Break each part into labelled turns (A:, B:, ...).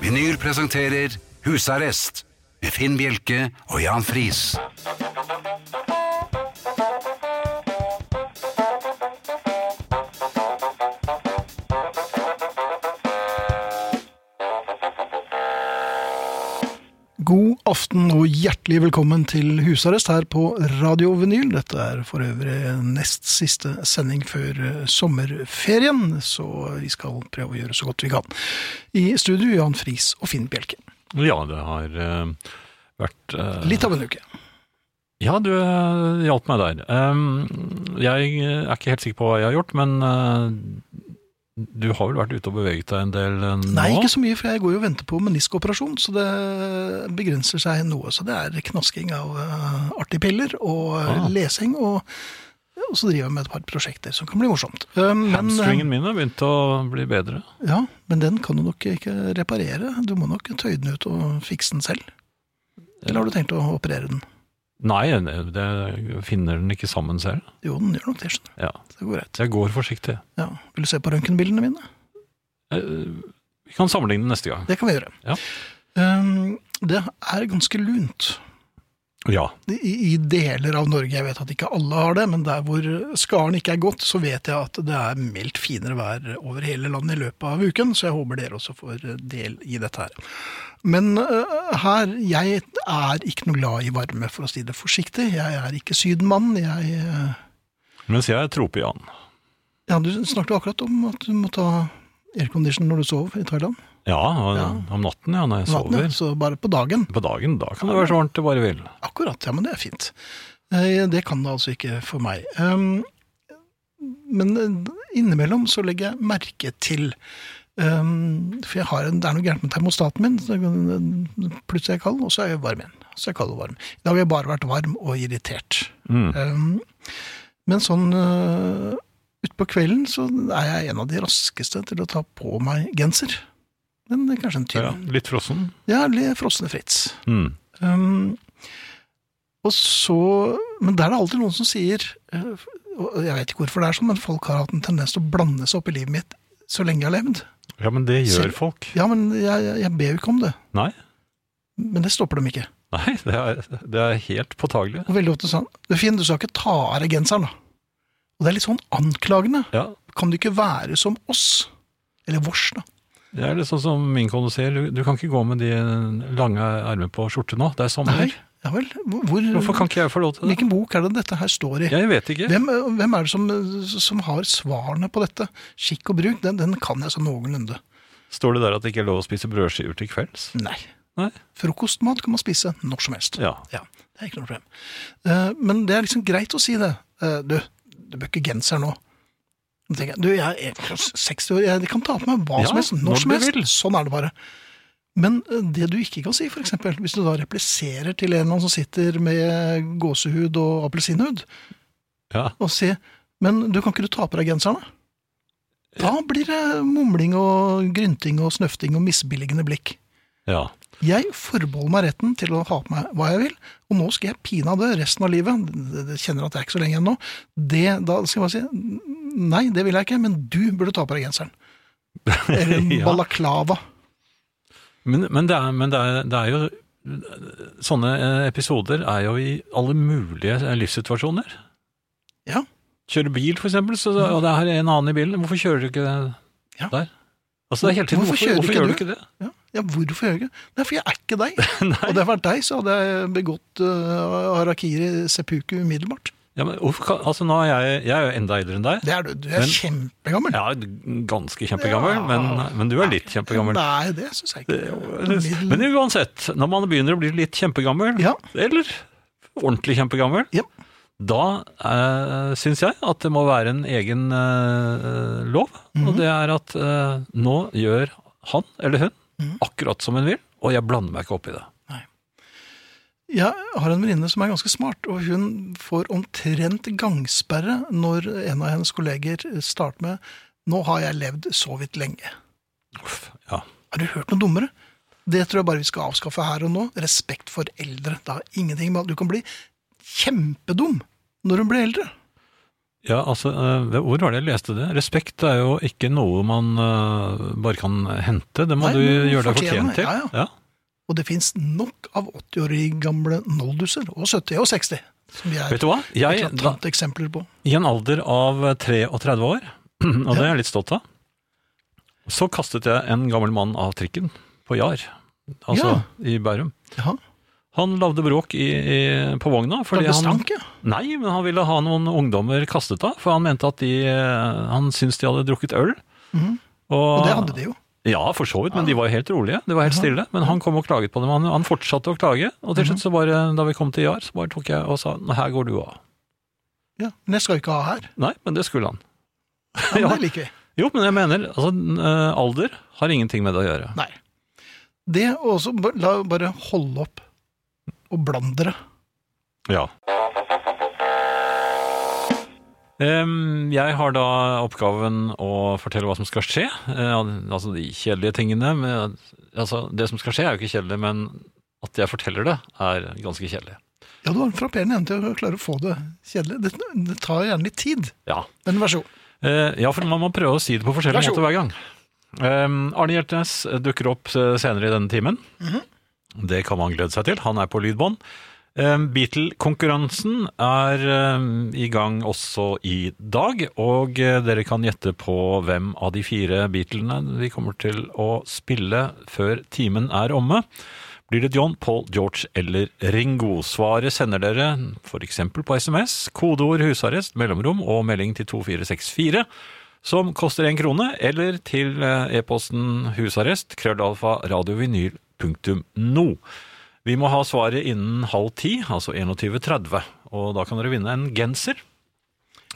A: Vinyl presenterer Husarrest med Finn Bjelke og Jan Friis.
B: God aften og hjertelig velkommen til husarrest her på Radio Vinyl. Dette er for øvrig nest siste sending før eh, sommerferien, så vi skal prøve å gjøre så godt vi kan. I studio Jan Friis og Finn Bjelke.
C: Ja, det har eh, vært eh,
B: Litt av en uke.
C: Ja, du eh, hjalp meg der. Em, jeg eh, er ikke helt sikker på hva jeg har gjort, men eh, du har vel vært ute og beveget deg en del eh, nå?
B: Nei, ikke så mye, for jeg går jo og venter på meniskoperasjon, så det begrenser seg noe. Så det er knasking av eh, artige piller og eh,
C: Ah.
B: lesing, og, og så driver jeg med et par prosjekter som kan bli morsomt. Eh, men, eh,
C: Hamstringen min har begynt å bli bedre.
B: Ja, men den kan du nok ikke reparere. Du må nok tøye den ut og fikse den selv. Eller har du tenkt å operere den?
C: Nei, det jeg finner den ikke sammen selv.
B: Jo, den gjør nok det, skjønner du.
C: Ja,
B: Så Det går greit.
C: så jeg går forsiktig.
B: Ja. Vil du se på røntgenbildene mine?
C: Eh, Vi kan sammenligne neste gang.
B: Det kan vi gjøre.
C: Ja.
B: Um, det er ganske lunt
C: Ja.
B: i, i deler av Norge. Jeg vet at ikke alle har det, men der hvor skaren ikke er godt, så vet jeg at det er meldt finere vær over hele landet i løpet av uken, så jeg håper dere også får del i dette her. Men øh, her Jeg er ikke noe glad i varme, for å si det forsiktig. Jeg er ikke sydenmann. Jeg øh,
C: Mens jeg er tropian.
B: Ja, du snakket jo akkurat om at du må ta aircondition når du sover i Thailand.
C: Ja, og-
B: Ja.
C: om natten, ja, når jeg
B: Natten, ja.
C: sover.
B: Så bare på dagen.
C: På dagen, da kan det være så varmt du bare vil.
B: Akkurat, ja, men det er fint. Eh, Det kan det altså ikke for meg. Um, Men eh, innimellom så legger jeg merke til um, For jeg har en, det er noe gærent med termostaten min. så den- Plutselig er jeg kald, og så er jeg varm igjen. Så er jeg kald og varm. I dag har jeg bare vært varm og irritert.
C: Mm.
B: Um, Men sånn uh, utpå kvelden så er jeg en av de raskeste til å ta på meg genser. Men det er kanskje en
C: Ja,
B: tynn.
C: litt frossen.
B: Ja, eller Frosne Fritz.
C: Mm.
B: Um, og så, men der er det alltid noen som sier, eh, og jeg vet ikke hvorfor det er sånn, men folk har hatt en tendens til å blande seg opp i livet mitt så lenge jeg har levd.
C: Ja, men det gjør
B: Selv-
C: folk.
B: Ja, men jeg, jeg- jeg ber jo ikke om det.
C: Nei,
B: Men det stopper dem ikke.
C: nei det, er, det er helt påtagelig.
B: Og veldig ofte sånn, du Finn, du skal ikke ta av deg genseren da. Og det er litt sånn anklagende.
C: Ja,
B: Kan du ikke være som oss? Eller vårs da.
C: det er litt sånn som min kone sier, du, du kan ikke gå med de lange armene på skjorte nå, det er sommer.
B: Nei, ja vel. Hvor,
C: Hvorfor kan ikke jeg få lov til det?
B: hvilken bok er det dette her står i?
C: Jeg vet ikke.
B: Hvem, hvem er det som, som har svarene på dette? Skikk og bruk, den, den kan jeg så noenlunde.
C: Står det der at det ikke er lov å spise brødskiver til kvelds?
B: Nei.
C: Nei?
B: Frokostmat kan man spise når som helst.
C: Ja.
B: Det er ikke noe problem. Eh, men det er liksom greit å si det. Eh, du, du bør ikke genser nå. Da tenker jeg, du, jeg er 60 år, jeg kan ta på meg hva
C: Ja,
B: som helst, når,
C: når
B: som
C: du
B: helst.
C: vil.
B: Sånn er det bare. Men eh, det du ikke kan si, for eksempel, hvis du da repliserer til en eller annen som sitter med gåsehud og appelsinhud,
C: Ja.
B: og si Men du kan ikke du ta på deg genserne? Da blir det mumling og grynting og snøfting og misbilligende blikk.
C: ja.
B: Jeg forbeholder meg retten til å ha på meg hva jeg vil, og nå skal jeg pinadø resten av livet det- det kjenner at det er ikke så lenge ennå. Det, da skal jeg bare si Nei, det vil jeg ikke, men du burde ta på deg genseren. Eller en
C: Ja.
B: balaklava.
C: Men, men, det, er, men det, er, det er jo Sånne eh, episoder er jo i alle mulige eh, livssituasjoner.
B: Ja.
C: Kjøre bil, for eksempel, så, og det er en annen i bilen. Hvorfor kjører du ikke
B: Ja.
C: der? Altså, det er hele tiden,
B: Hvorfor
C: hvorfor,
B: kjører
C: hvorfor
B: ikke
C: gjør
B: du?
C: du ikke det?
B: Ja, ja hvorfor gjør jeg ikke det? Nei, for jeg er ikke deg. Og
C: Nei.
B: det hadde jeg vært deg, så hadde jeg begått uh, harakiri seppuku umiddelbart.
C: Ja, men hvorfor kan, altså nå er jeg, jeg er jo enda eldre enn deg.
B: Det er du. Du er
C: Men-
B: kjempegammel.
C: Jeg er ganske kjempegammel,
B: Ja.
C: men, men du er litt kjempegammel.
B: Nei, det syns jeg ikke. Middel-
C: Men uansett, når man begynner å bli litt kjempegammel,
B: Ja.
C: eller ordentlig kjempegammel,
B: Ja.
C: da eh, syns jeg at det må være en egen eh, lov.
B: Mhm.
C: Og det er at eh, nå gjør han eller hun
B: Mhm.
C: akkurat som hun vil, og jeg blander meg ikke opp i det.
B: Jeg har en venninne som er ganske smart, og hun får omtrent gangsperre når en av hennes kolleger starter med 'Nå har jeg levd så vidt lenge'.
C: Uff, ja.
B: Har du hørt noe dummere? Det tror jeg bare vi skal avskaffe her og nå. Respekt for eldre. Det har ingenting med at du kan bli kjempedum når hun blir eldre.
C: Ja, altså, eh, Hvor var det jeg leste det? Respekt er jo ikke noe man eh, bare kan hente. Det må
B: Nei,
C: du
B: men
C: gjøre deg
B: fortjene,
C: fortjent til.
B: ja, Og det fins nok av 80-årige gamle noldusser, og 70 og 60, som vi er
C: Vet du hva? Jeg, da,
B: eklatant eksempler på.
C: I en alder av 33 år, og det er jeg litt stolt av, så kastet jeg en gammel mann av trikken på Jar, altså i Bærum.
B: Ja,
C: Han lagde bråk i, i, på vogna.
B: fordi
C: Fordi han,
B: stank, ja.
C: nei, men han ville ha noen ungdommer kastet av, for han mente at de, eh, han syntes de hadde drukket øl.
B: Mhm. Og det hadde de jo.
C: Ja, for så vidt, men de var jo helt rolige. De var helt stille. Men han kom og klaget på dem. Han, han fortsatte å klage, og
B: Mhm.
C: til slutt, så bare, da vi kom til Jar, så bare tok jeg og sa, "Nå, her går du av.
B: Ja. Men jeg skal ikke ha her.
C: Nei, men det skulle han.
B: Ja, men Det liker vi.
C: Jo, men jeg mener, altså, n- eh, alder har ingenting med det å gjøre.
B: Nei. Det og også ba- La bare holde opp og bland dere.
C: Ja. jeg har da oppgaven å fortelle hva som skal skje. Eh, altså de kjedelige tingene. Men, altså, det som skal skje er jo ikke kjedelig, men at jeg forteller det er ganske kjedelig.
B: Ja, du har en frapperende evne til å klare å få det kjedelig. Det, det tar jo gjerne litt tid.
C: Ja.
B: Men vær så god.
C: Eh, ja, for man må prøve å si det på
B: Vær
C: forskjellige
B: så god.
C: måter hver gang. Um, Arne Hjertnes dukker opp eh, senere i denne timen.
B: Mhm.
C: Det kan man glede seg til. Han er på lydbånd. Um, Beatle-konkurransen er um, i gang også i dag, og eh, dere kan gjette på hvem av de fire Beatlene vi kommer til å spille før timen er omme. Blir det John, Paul, George eller Ringo? Svaret sender dere f.eks. på SMS, kodeord husarrest, mellomrom og melding til 2464, som koster én krone, eller til eh, e-posten husarrest, krøllalfa, radiovinyl.no. Vi må ha svaret innen halv ti, altså 21.30, og da kan dere vinne en genser.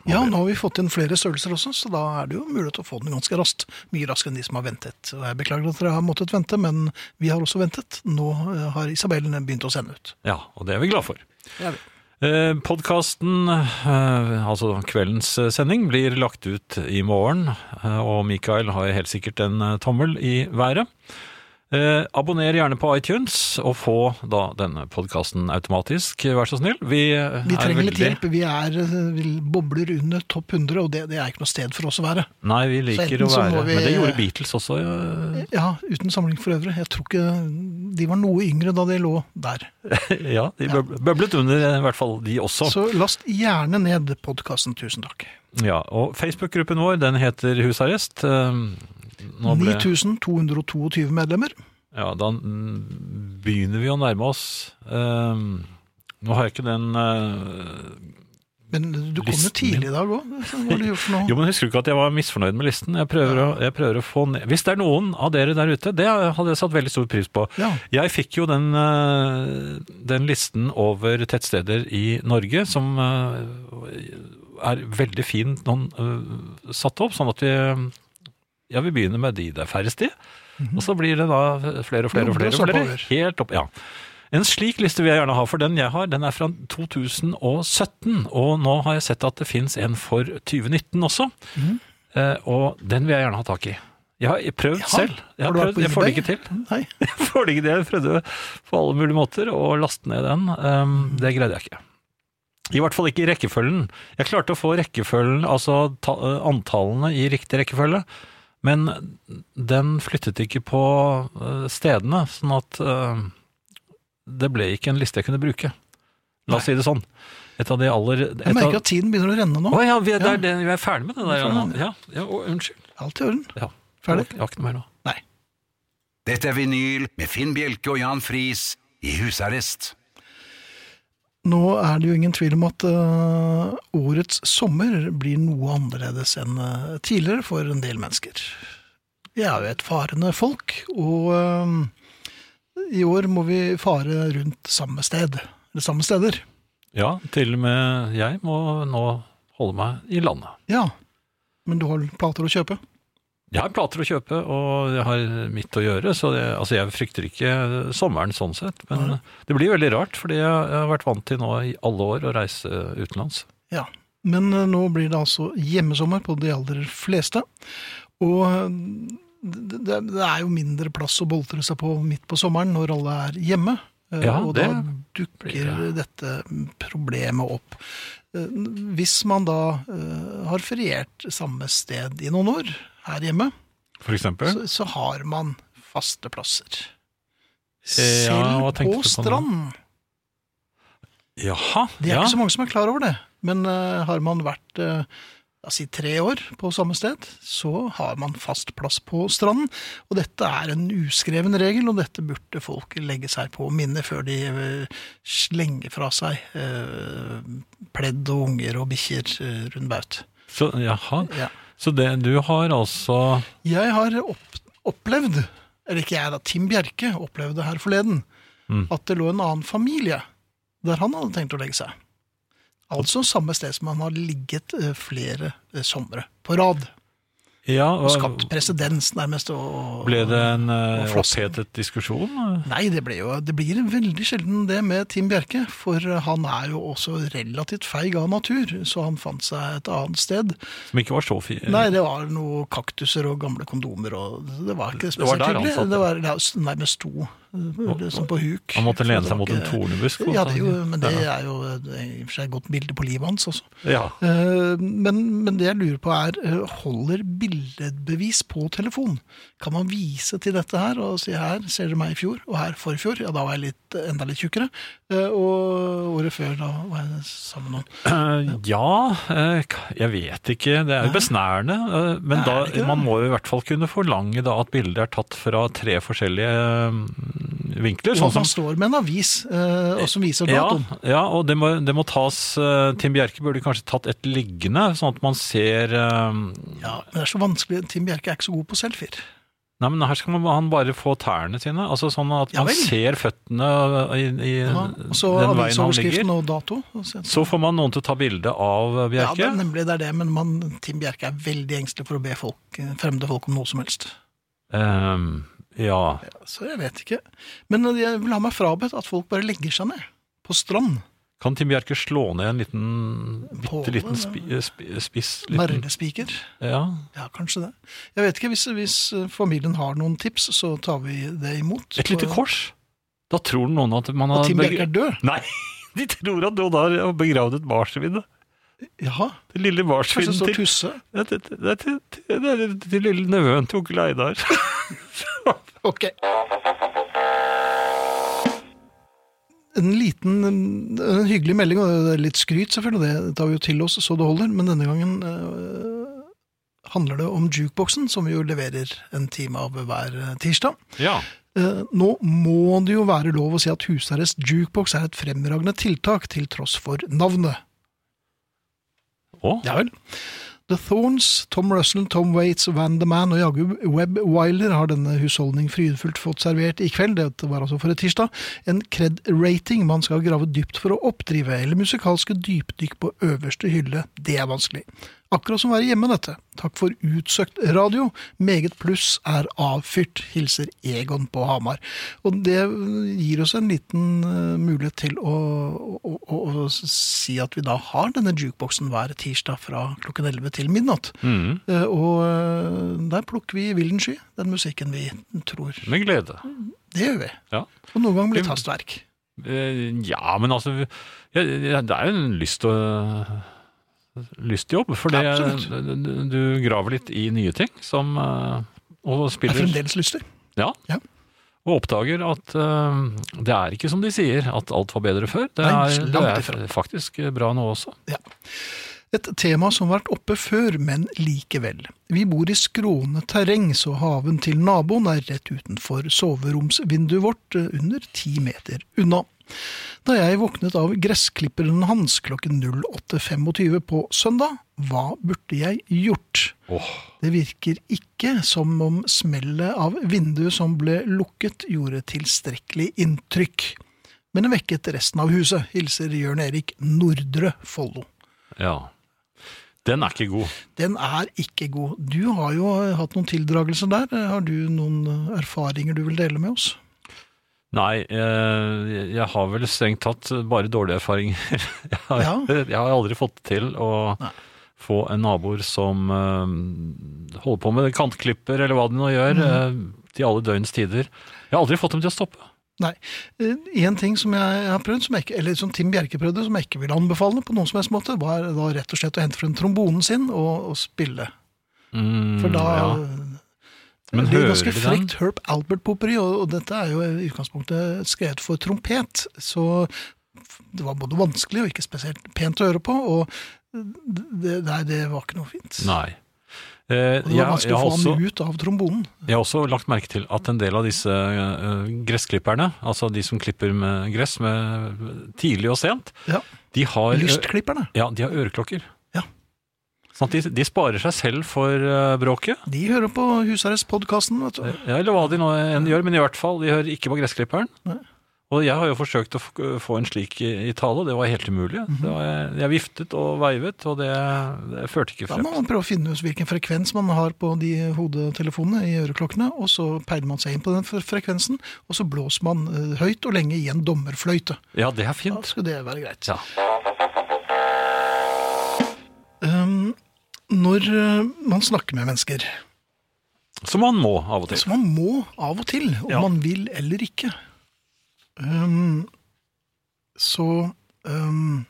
B: Ja, nå har vi fått inn flere størrelser også, så da er det jo mulig til å få den ganske raskt. Mye raskere enn de som har ventet. Og jeg beklager at dere har måttet vente, men vi har også ventet. Nå eh, har Isabellen begynt å sende ut.
C: Ja, og det er vi glad for.
B: Ja, vi.
C: Eh, Podkasten, eh, altså kveldens eh, sending, blir lagt ut i morgen, eh, og Mikael har helt sikkert en eh, tommel i været. Eh, Abonner gjerne på iTunes, og få da denne podkasten automatisk, vær så snill. Vi, eh,
B: Vi
C: er
B: trenger litt
C: veldig-
B: hjelp. Vi er eh, vi bobler under topp 100, og det, det er ikke noe sted for oss å være.
C: Nei, vi liker
B: enten
C: å
B: så
C: være
B: må vi-
C: Men det gjorde Beatles også. eh,
B: Ja, uten samling for øvrig. Jeg tror ikke de var noe yngre da de lå der.
C: ja, de bøb- bøblet under, eh, i hvert fall de også.
B: Så last gjerne ned podkasten. Tusen takk.
C: Ja, og Facebook-gruppen vår, den heter Husarrest. Eh, Nå ble-
B: 9222 medlemmer.
C: Ja, da mm, begynner vi å nærme oss. Ehm, nå har jeg ikke den eh,
B: Men du kom jo
C: Listen min.
B: tidlig i dag òg. Hva har du gjort for noe?
C: Jo, men husker du ikke at jeg var misfornøyd med listen? Jeg prøver, å, jeg prøver å få ned Hvis det er noen av dere der ute, det hadde jeg satt veldig stor pris på.
B: Ja.
C: Jeg fikk jo den, eh, den listen over tettsteder i Norge som eh, er veldig fint noen, eh, satt opp, sånn at vi ja, vi begynner med de det er færrest i,
B: Mhm.
C: og så blir det da flere og flere og
B: Jobber
C: flere.
B: oss
C: Og flere.
B: oppover.
C: Helt opp, ja. En slik liste vil jeg gjerne ha, for den jeg har, den er fra 2017, og nå har jeg sett at det finnes en for 2019 også,
B: Mhm.
C: eh, og den vil jeg gjerne ha tak i. Jeg har prøvd selv. Jeg, har
B: Har du vært
C: prøvd,
B: på
C: jeg får det
B: eBay?
C: ikke til
B: Nei.
C: får det ikke det. Jeg prøvde på alle mulige måter å laste ned den. Um, det greide jeg ikke. I hvert fall ikke i rekkefølgen. Jeg klarte å få rekkefølgen, altså ta, eh, antallene i riktig rekkefølge, men den flyttet ikke på eh, stedene, sånn at eh, det ble ikke en liste jeg kunne bruke. La oss si det sånn. Et av de aller et
B: Jeg merker
C: av,
B: at tiden begynner å renne nå.
C: Å ja, vi er,
B: Ja.
C: det er det, vi er ferdig med det der,
B: ferdig
C: Anna.
B: med det.
C: Ja, ja, å, unnskyld.
B: Alt i orden.
C: Ja.
B: Ferdig?
C: Jeg har ikke noe mer nå.
B: Nei.
A: Dette er vinyl med Finn Bjelke og Jan Friis i husarrest.
B: Nå er det jo ingen tvil om at eh, årets sommer blir noe annerledes enn eh, tidligere for en del mennesker. Vi er jo et farende folk, og eh, i år må vi fare rundt samme sted. Eller samme steder.
C: Ja, til og med jeg må nå holde meg i landet.
B: Ja. Men du har plater å kjøpe?
C: Jeg har plater å kjøpe, og jeg har mitt å gjøre, så det, altså jeg frykter ikke sommeren sånn sett. Men det blir veldig rart, fordi jeg, jeg har vært vant til nå i alle år å reise utenlands.
B: Ja. Men eh, nå blir det altså hjemmesommer på de aller fleste. Og eh, det, det det er jo mindre plass å boltre seg på midt på sommeren når alle er hjemme. Eh,
C: Ja,
B: og
C: det
B: da
C: blir
B: dukker dette problemet opp. Eh, Hvis man da eh, har feriert samme sted i noen år her hjemme,
C: for eksempel.
B: så, så har man faste plasser.
C: Eh, ja,
B: Selv
C: hva
B: på
C: tenkte du på nå?
B: strand.
C: Jaha,
B: Det er
C: ja.
B: ikke så mange som er klar over det. Men eh, har man vært eh, la oss si tre år på samme sted, så har man fast plass på stranden. Og dette er en uskreven regel, og dette burde folk legge seg på minnet før de eh, slenger fra seg eh, pledd og unger og bikkjer eh, rundt baut.
C: Så, jaha.
B: Ja.
C: Så det, du har altså
B: Jeg har opp, opplevd, eller ikke jeg da, Tim Bjerke opplevde her forleden,
C: Mm.
B: at det lå en annen familie der han hadde tenkt å legge seg. Altså samme sted som han har ligget eh, flere eh, somre på rad.
C: ja,
B: Og
C: hva-
B: skapt presedens, nærmest. Og,
C: Ble det en eh,
B: Og flossen.
C: opphetet diskusjon?
B: Nei, det, ble jo, det blir veldig sjelden det med Tim Bjerke, for han er jo også relativt feig av natur, så han fant seg et annet sted.
C: eh, Som ikke var så fin?
B: Nei, det var noe kaktuser og gamle kondomer, og det var ikke
C: Det var
B: spesielt
C: der han
B: hyggelig.
C: satt,
B: Det var der han nærmest sto, eh, som på huk.
C: Han måtte lene
B: Så det
C: seg
B: var
C: mot en
B: ikke-
C: tornebusk? altså. og
B: Ja,
C: så-
B: det er jo, men det er jo eh, det er i og for seg et godt bilde på livet hans også.
C: ja.
B: Eh, Men, men det jeg lurer på er, eh, holder bildebevis på telefon? Kan man vise til dette her og si her ser dere meg i fjor, og her forfjor? Ja, da var jeg litt, enda litt tjukkere. Eh, Og året før, da var jeg sammen med noen.
C: Eh, ja, eh, k- jeg vet ikke. Det er jo besnærende. eh, Men
B: Nei,
C: da,
B: er det ikke det?
C: man må jo i hvert fall kunne forlange da at bildet er tatt fra tre forskjellige eh, vinkler.
B: Og
C: Sånn
B: at man
C: som,
B: står med en avis eh, og som viser
C: ja,
B: datoen.
C: ja, og det må, det må tas eh, Tim Bjerke burde kanskje tatt et liggende, sånn at man ser eh,
B: Ja, men det er så vanskelig. Tim Bjerke er ikke så god på selfier.
C: Nei, men her skal man, han bare få tærne sine. Altså Sånn at
B: Ja
C: man
B: vel.
C: ser føttene eh, i, i
B: Ja, og så
C: den veien han
B: avisoverskriften
C: ligger.
B: og dato. og så-
C: Så får man noen til å ta bilde av eh,
B: Ja,
C: Bjerke.
B: det, er nemlig det er det, men man, Tim Bjerke er veldig engstelig for å be folk, eh, fremmede folk om noe som helst.
C: Ehm, ja.
B: Så jeg vet ikke. Men eh, jeg vil ha meg frabedt at folk bare legger seg ned på strand.
C: Kan Tim Bjerke slå ned en liten, bitte
B: Påle,
C: liten
B: ja.
C: spi, spi, spiss liten,
B: Merlespiker.
C: ja.
B: Ja, kanskje det. Jeg vet ikke, hvis, hvis eh, familien har noen tips, så tar vi det imot.
C: Et lite
B: Og-
C: kors? Da tror noen at man
B: Og
C: har
B: Tim
C: beg-
B: Bjerke er død.
C: Nei, de tror at noen har begravd et marsvin.
B: Jaha.
C: Den
B: Kanskje
C: lille
B: det
C: marsvinet
B: står
C: til,
B: Tusse.
C: Det er til, det er til, til, det er til lille nevøen til onkel Eidar.
B: Ok. En liten, en hyggelig melding, og det er litt skryt selvfølgelig, det tar vi jo til oss så det holder, men denne gangen eh, handler det om jukeboksen, som vi jo leverer en time av hver tirsdag.
C: ja.
B: Eh, Nå må det jo være lov å si at husarrest jukebox er et fremragende tiltak til tross for navnet.
C: Å,
B: Ja vel. The Thorns, Tom Russell, Tom Waits, Van The Man og jaggu Webb Wyler har denne husholdning frydefullt fått servert i kveld, dette var altså for et tirsdag, en cred-rating man skal grave dypt for å oppdrive, eller musikalske dypdykk på øverste hylle, det er vanskelig. Akkurat som å være hjemme, dette. Takk for utsøkt radio. Meget pluss er avfyrt, hilser Egon på Hamar. Og det gir oss en liten eh, mulighet til å, å, å, å si at vi da har denne jukeboksen hver tirsdag fra klokken 11 til midnatt.
C: mhm,
B: Eh, Og eh, der plukker vi i vilden sky den musikken vi tror.
C: med glede.
B: Det gjør vi.
C: Ja.
B: Og noen ganger blir
C: Det-
B: det hastverk.
C: Eh, Ja, men altså ja, ja, Det er jo en lyst og lystjobb, for det,
B: Absolutt.
C: du graver litt i nye ting som eh, og
B: Jeg
C: spiller
B: fremdeles lyster.
C: ja,
B: Ja.
C: og oppdager at eh, det er ikke som de sier, at alt var bedre før. Det
B: Nei,
C: er, det
B: langt
C: er faktisk eh, bra nå også.
B: Et tema som har vært oppe før, men likevel. Vi bor i skrånende terreng, så haven til naboen er rett utenfor soveromsvinduet vårt, eh, under ti meter unna. Da jeg våknet av gressklipperen hans klokken 08.25 på søndag, hva burde jeg gjort?
C: Åh,
B: Det virker ikke som om smellet av vinduet som ble lukket, gjorde tilstrekkelig inntrykk. Men det vekket resten av huset, hilser Jørn Erik Nordre Follo.
C: ja. Den er ikke god.
B: Den er ikke god. Du har jo hatt noen tildragelser der. Har du noen erfaringer du vil dele med oss?
C: Nei, eh, jeg har vel strengt tatt bare dårlige erfaringer. Jeg har,
B: Ja.
C: jeg har aldri fått til å
B: Nei.
C: få en naboer som eh, holder
B: Mm.
C: på med kantklipper eller hva de nå gjør, eh, til alle døgns tider. Jeg har aldri fått dem til å stoppe.
B: Nei. Én ting som jeg har prøvd, som jeg ikke, eller som Tim Bjerke prøvde, som jeg ikke vil anbefale på noen som helst måte, var da rett og slett å hente frem trombonen sin og, og spille.
C: Mm,
B: For da
C: ja. Men
B: det blir
C: hører
B: ganske
C: de den?
B: frekt Herb Albert-poperi, og, og dette er jo i utgangspunktet skrevet for trompet, så det var både vanskelig og ikke spesielt pent å høre på, og det, nei, det var ikke noe fint.
C: Nei. Eh,
B: Og det var
C: jeg, jeg,
B: vanskelig
C: har
B: å få
C: også,
B: ham ut av trombonen.
C: jeg har også lagt merke til at en del av disse eh, gressklipperne, altså de som klipper med gress med tidlig og sent,
B: Ja.
C: de har, eh, ø-
B: Lystklipperne,
C: ja, de har øreklokker.
B: Ja.
C: Sånn at de, de sparer seg selv for eh, bråket,
B: de hører på husarrestpodkasten, vet du.
C: ja, eller hva de nå enn gjør, men i hvert fall, de hører ikke på gressklipperen.
B: Nei.
C: Og jeg har jo forsøkt å f- få en slik i, i tale, det var helt umulig.
B: Mhm.
C: Det var, jeg, jeg viftet og veivet, og det, det førte ikke
B: Da
C: frem.
B: må man prøve å finne ut hvilken frekvens man har på de hodetelefonene i øreklokkene, og så peiler man seg inn på den fre- frekvensen, og så blåser man eh, høyt og lenge i en dommerfløyte.
C: Ja, det er
B: Da
C: fint.
B: skal det være greit.
C: Ja.
B: Um, når eh, man snakker med mennesker,
C: Som man må av og til.
B: så man må av og til, om
C: Ja.
B: man vil eller ikke, um, så um,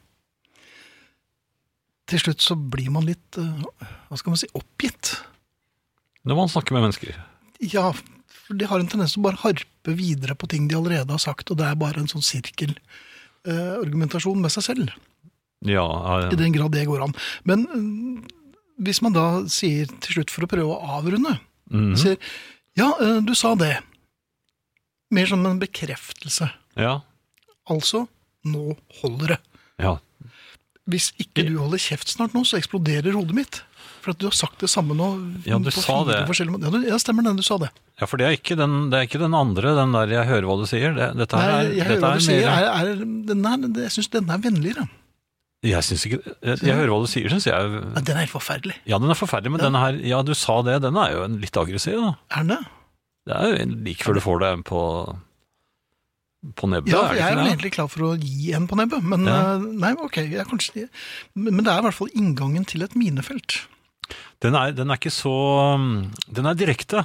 B: til slutt så blir man litt, eh, hva skal man si, oppgitt.
C: Når man snakker med mennesker.
B: Ja, for de har en tendens til å bare harpe videre på ting de allerede har sagt, og det er bare en sånn sirkelargumentasjon med seg selv,
C: Ja,
B: i den grad det går an. Men eh, hvis man da sier til slutt, for å prøve å avrunde,
C: mm,
B: sier ja, eh, du sa det. Mer som en bekreftelse.
C: ja,
B: Altså, nå holder det.
C: ja.
B: Hvis ikke du holder kjeft snart nå, så eksploderer hodet mitt. For at du har sagt det samme nå.
C: Ja, du
B: på
C: sa
B: fire
C: det.
B: forskjellige måter. Ja, du- ja, stemmer det. Du sa det.
C: ja, for det er, ikke den, det er ikke den andre, den der 'jeg hører hva du sier'. Det, dette her
B: Nei,
C: er,
B: jeg hører
C: dette
B: hva du sier.
C: mer-
B: Er, er, den er, det- jeg syns denne er vennligere.
C: Jeg syns ikke jeg, jeg hører hva du sier, syns jeg.
B: Nei, den er helt forferdelig.
C: Ja, den er forferdelig, men denne her 'ja, du sa det', den er jo en litt aggressiv, da.
B: Er den det?
C: Det er jo en- like før du får det på, på nebbet,
B: Ja,
C: er
B: for jeg
C: det
B: er
C: ikke
B: vel
C: det?
B: egentlig klar for å gi en på nebbet. Men
C: Ja.
B: eh, nei, ok, jeg er kanskje Men men det er i hvert fall inngangen til et minefelt.
C: Den er, den er ikke så um, Den er direkte.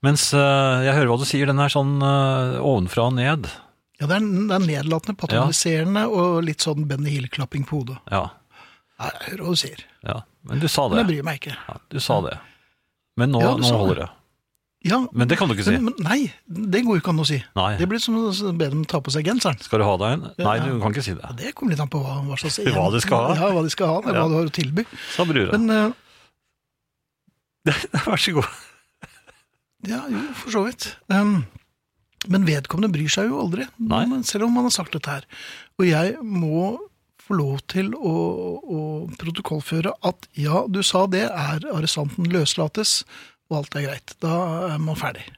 C: Mens eh, 'jeg hører hva du sier', den er sånn eh, ovenfra og ned.
B: Ja, det er, det er nedlatende, patroniserende og litt sånn Benny Hill-klapping på hodet.
C: Ja,
B: Nei, jeg hører hva du sier,
C: ja. Men du sa det.
B: men jeg bryr meg ikke.
C: Ja, du sa det. Men nå,
B: Ja, du
C: nå
B: sa
C: holder det.
B: Ja,
C: Men det kan du ikke si.
B: men, men nei, det går jo ikke an å si.
C: Nei.
B: Det blir som å be dem ta på seg genseren.
C: Skal du ha deg en? Nei,
B: Ja.
C: du kan ikke si
B: Ja,
C: det.
B: det kommer litt an på hva, hva slags
C: Hva du skal ha.
B: Ja, hva de skal ha, eller
C: Ja.
B: hva du har å tilby.
C: Sa brura.
B: Men eh,
C: Vær så god.
B: ja, jo, for så vidt. Em, men vedkommende bryr seg jo aldri,
C: Nei.
B: Men selv om man har sagt dette her. Og jeg må få lov til å, å protokollføre at ja, du sa det, er arrestanten løslates, og alt er greit. Da er man ferdig.